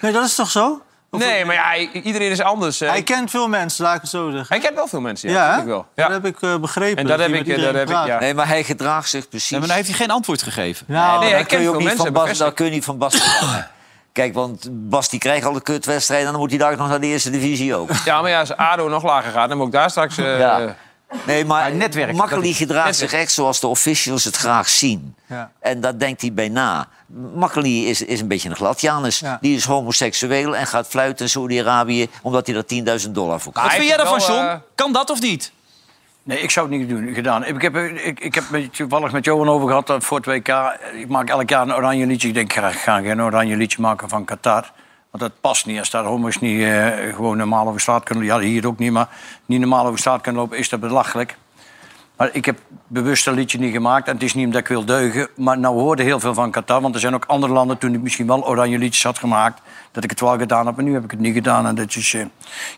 D: Nee, dat is toch zo?
I: nee, maar ja, i- iedereen is anders. eh.
D: Hij kent veel mensen, laat ik het zo zeggen.
I: Hij kent wel veel mensen, ja.
D: Ja,
I: dat
D: hè?
I: vind ik wel.
D: Dat heb ik eh, begrepen.
I: En dat heb
D: hij met
I: ik, eh,
D: iedereen
I: dat heb ik,
D: praat.
I: ja.
E: Nee, maar hij gedraagt zich precies.
A: Ja, maar nou, daar heeft hij geen antwoord gegeven.
D: Nou,
E: daar
I: Nee, hij
E: kun
I: kent
E: je
I: veel
E: ook niet
I: mensen,
E: van Bas,
I: bevestigd.
E: daar kun je niet van Bas verwachten. Kijk, want Bas die krijgt al de kutwedstrijd... en dan moet hij daar ook nog naar de eerste divisie ook.
I: Ja, maar ja, als ADO nog lager gaat, dan moet ik daar straks... eh,
E: Ja. Nee, maar
A: netwerk, dat
E: Makkeli
A: is-
E: gedraagt
I: netwerk.
E: zich echt zoals de officials het graag zien.
D: Ja.
E: En daar denkt hij bij na. Makkeli is, is een beetje een gladjanus.
D: Ja.
E: Die is homoseksueel en gaat fluiten in Saudi-Arabië... omdat hij daar 10.000 dollar voor
A: Wat
E: krijgt.
A: vind jij daarvan,
I: wel, eh,
A: John? Kan dat of niet?
F: Nee, ik zou het niet doen, gedaan. Ik heb, eh, ik, ik heb het toevallig met Johan over gehad dat voor het WK. Ik maak elk jaar een oranje liedje. Ik denk, ik ga- ik ga geen oranje liedje maken van Qatar. Want dat past niet. Als daar homo's niet eh, gewoon normaal over straat kunnen lopen. Ja, hier ook niet, maar niet normaal over straat kunnen lopen, is dat belachelijk. Maar ik heb bewust dat liedje niet gemaakt. En het is niet omdat ik wil deugen. Maar nou hoorde heel veel van Qatar. Want er zijn ook andere landen toen ik misschien wel oranje liedjes had gemaakt. Dat ik het wel gedaan heb. Maar nu heb ik het niet gedaan. En dat is, eh,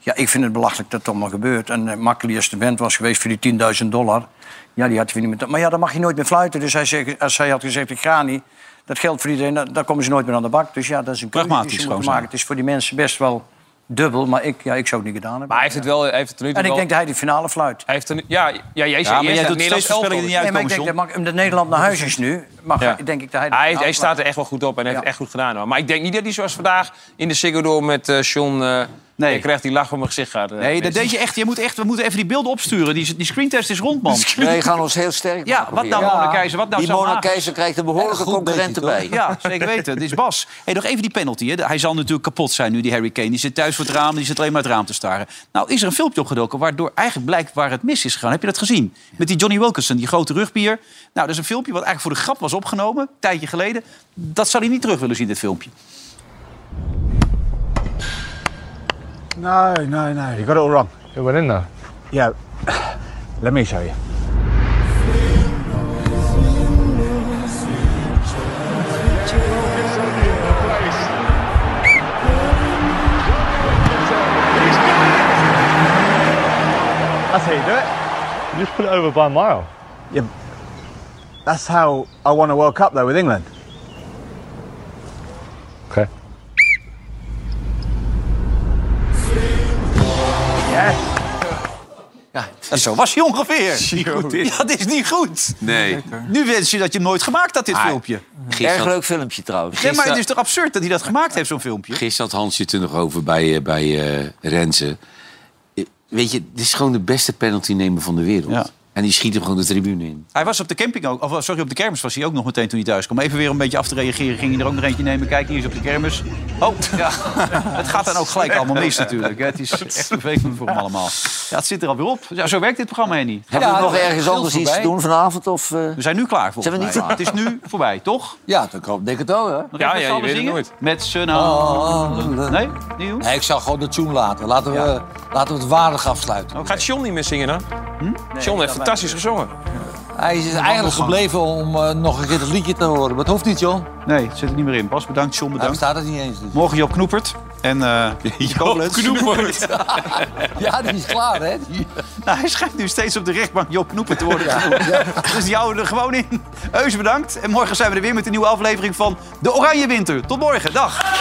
F: ja, ik vind het belachelijk dat het allemaal gebeurt. En eh Makkeli, als de band was geweest voor die 10.000 dollar. Ja, die had hij weer niet meer. Maar ja, dan mag je nooit meer fluiten. Dus hij zegt, als hij had gezegd, ik ga niet. Dat geldt voor iedereen. Dan dan komen ze nooit meer aan de bak. Dus ja, dat is een keuze die
A: Pragmatisch
F: ze
A: gewoon
F: moeten
A: zijn.
F: maken. Het is voor die mensen best wel dubbel. Maar ik, ja, ik zou het niet gedaan hebben.
I: Maar hij heeft het wel... Hij heeft het er nu toe
F: en ik
I: wel-
F: denk dat hij de finale fluit.
I: Hij heeft er nu- ja, ja, jij zei
A: Ja, maar
I: eerst
A: jij doet
I: dat
A: steeds
I: Nederlands
A: voorspellingen die
I: elftal
A: niet
F: Nee,
A: uitkomen,
F: maar ik denk
A: John.
F: dat, Mak- omdat Nederland naar huis is nu, mag,
I: Ja.
F: denk ik dat hij... de
I: Hij,
F: finale
I: hij
F: plaatst.
I: staat er echt wel goed op en heeft
F: Ja.
I: echt goed gedaan. Hoor. Maar ik denk niet dat hij zoals vandaag in de Ziggo Dome met eh John... eh
A: Nee.
I: Je krijgt die lach van mijn gezicht gaat. eh,
A: Nee, dat
I: mensen.
A: deed je echt. Je moet echt. We moeten even die beelden opsturen. Die, die screentest is rond, man.
E: Wij gaan ons heel sterk
A: Ja,
E: maken
A: wat
E: hier.
A: nou, Mona Keizer? Wat nou,
E: Die
A: Sam
E: Mona
A: Hagen?
E: Keizer krijgt een behoorlijke
B: Goed beetje,
E: concurrent
B: toch?
E: erbij.
A: Ja, zeker weten. Het is Bas. Hey, nog even die penalty. Hè. Hij zal natuurlijk kapot zijn nu, die Harry Kane. Die zit thuis voor het raam, die zit alleen maar het raam te staren. Nou, is er een filmpje opgedoken waardoor eigenlijk blijkt waar het mis is gegaan. Heb je dat gezien? Met die Johnny Wilkinson, die grote rugbier. Nou, dat is een filmpje wat eigenlijk voor de grap was opgenomen, een tijdje geleden. Dat zou hij niet terug willen zien, dit filmpje.
N: No, no, no. You got it all wrong. It went in there. Yeah. Let me show you.
O: That's how you do it. You just put it over by a mile. Yeah.
N: That's how I won a World Cup, though, with England.
O: Okay.
N: Yes.
A: En zo Dus was hij ongeveer. Ja, dat is niet goed.
C: Nee.
A: Nu wens je dat je hem nooit gemaakt had, dit filmpje.
C: Erg leuk
E: filmpje trouwens.
A: Nee, maar het is toch absurd dat hij dat gemaakt heeft, zo'n filmpje?
C: Gisteren had Hansje het er nog over bij, eh, bij eh, Renze. Eh, Weet je, dit is gewoon de beste penaltynemer van de wereld. En die schiet hem gewoon de tribune in.
A: Hij was op de camping ook, of oh, sorry, op de kermis was hij ook nog meteen toen hij thuis kwam. Even weer een beetje af te reageren, ging hij er ook nog eentje nemen. Kijk, hier is op de kermis. Oh, ja. Het gaat dan ook gelijk allemaal mis natuurlijk. hè. Het is echt vervelend voor hem allemaal. Ja, het zit er alweer op. Ja, zo werkt dit programma, Henny.
E: Hebben
A: Ja,
E: we nog
A: het
E: ergens
A: scheelt
E: anders iets te
A: voorbij.
E: doen vanavond? Of, eh?
A: We zijn nu klaar volgens
E: Zijn we niet
A: mij.
E: klaar?
A: Het is nu voorbij, toch?
B: Ja, ik hoop, denk het wel, hè?
A: Nog even met z'n allen zingen? Met z'n
E: Oh.
A: allen. Nee? Niet doen?
B: Nee, ik zou gewoon de tune laten. Laten we, laten we het waardig afsluiten.
I: Gaat John niet meer zingen dan? John heeft fantastisch gezongen.
B: Hij is eigenlijk gebleven om eh, nog een keer het liedje te horen. Maar het hoeft niet, John.
A: Nee, het zit er niet meer in. Bas, bedankt. John,
B: Hij
A: bedankt.
B: staat het niet eens. dus.
A: Morgen Job Knoepert. En eh Job
B: Knoepert. Ja, die is klaar, hè? Die-
A: Nou, hij schijnt nu steeds op de rechtbank Job Knoepen te worden genoemd. Dus die houden er gewoon in. Heus bedankt. En morgen zijn we er weer met een nieuwe aflevering van De Oranje Winter. Tot morgen. Dag.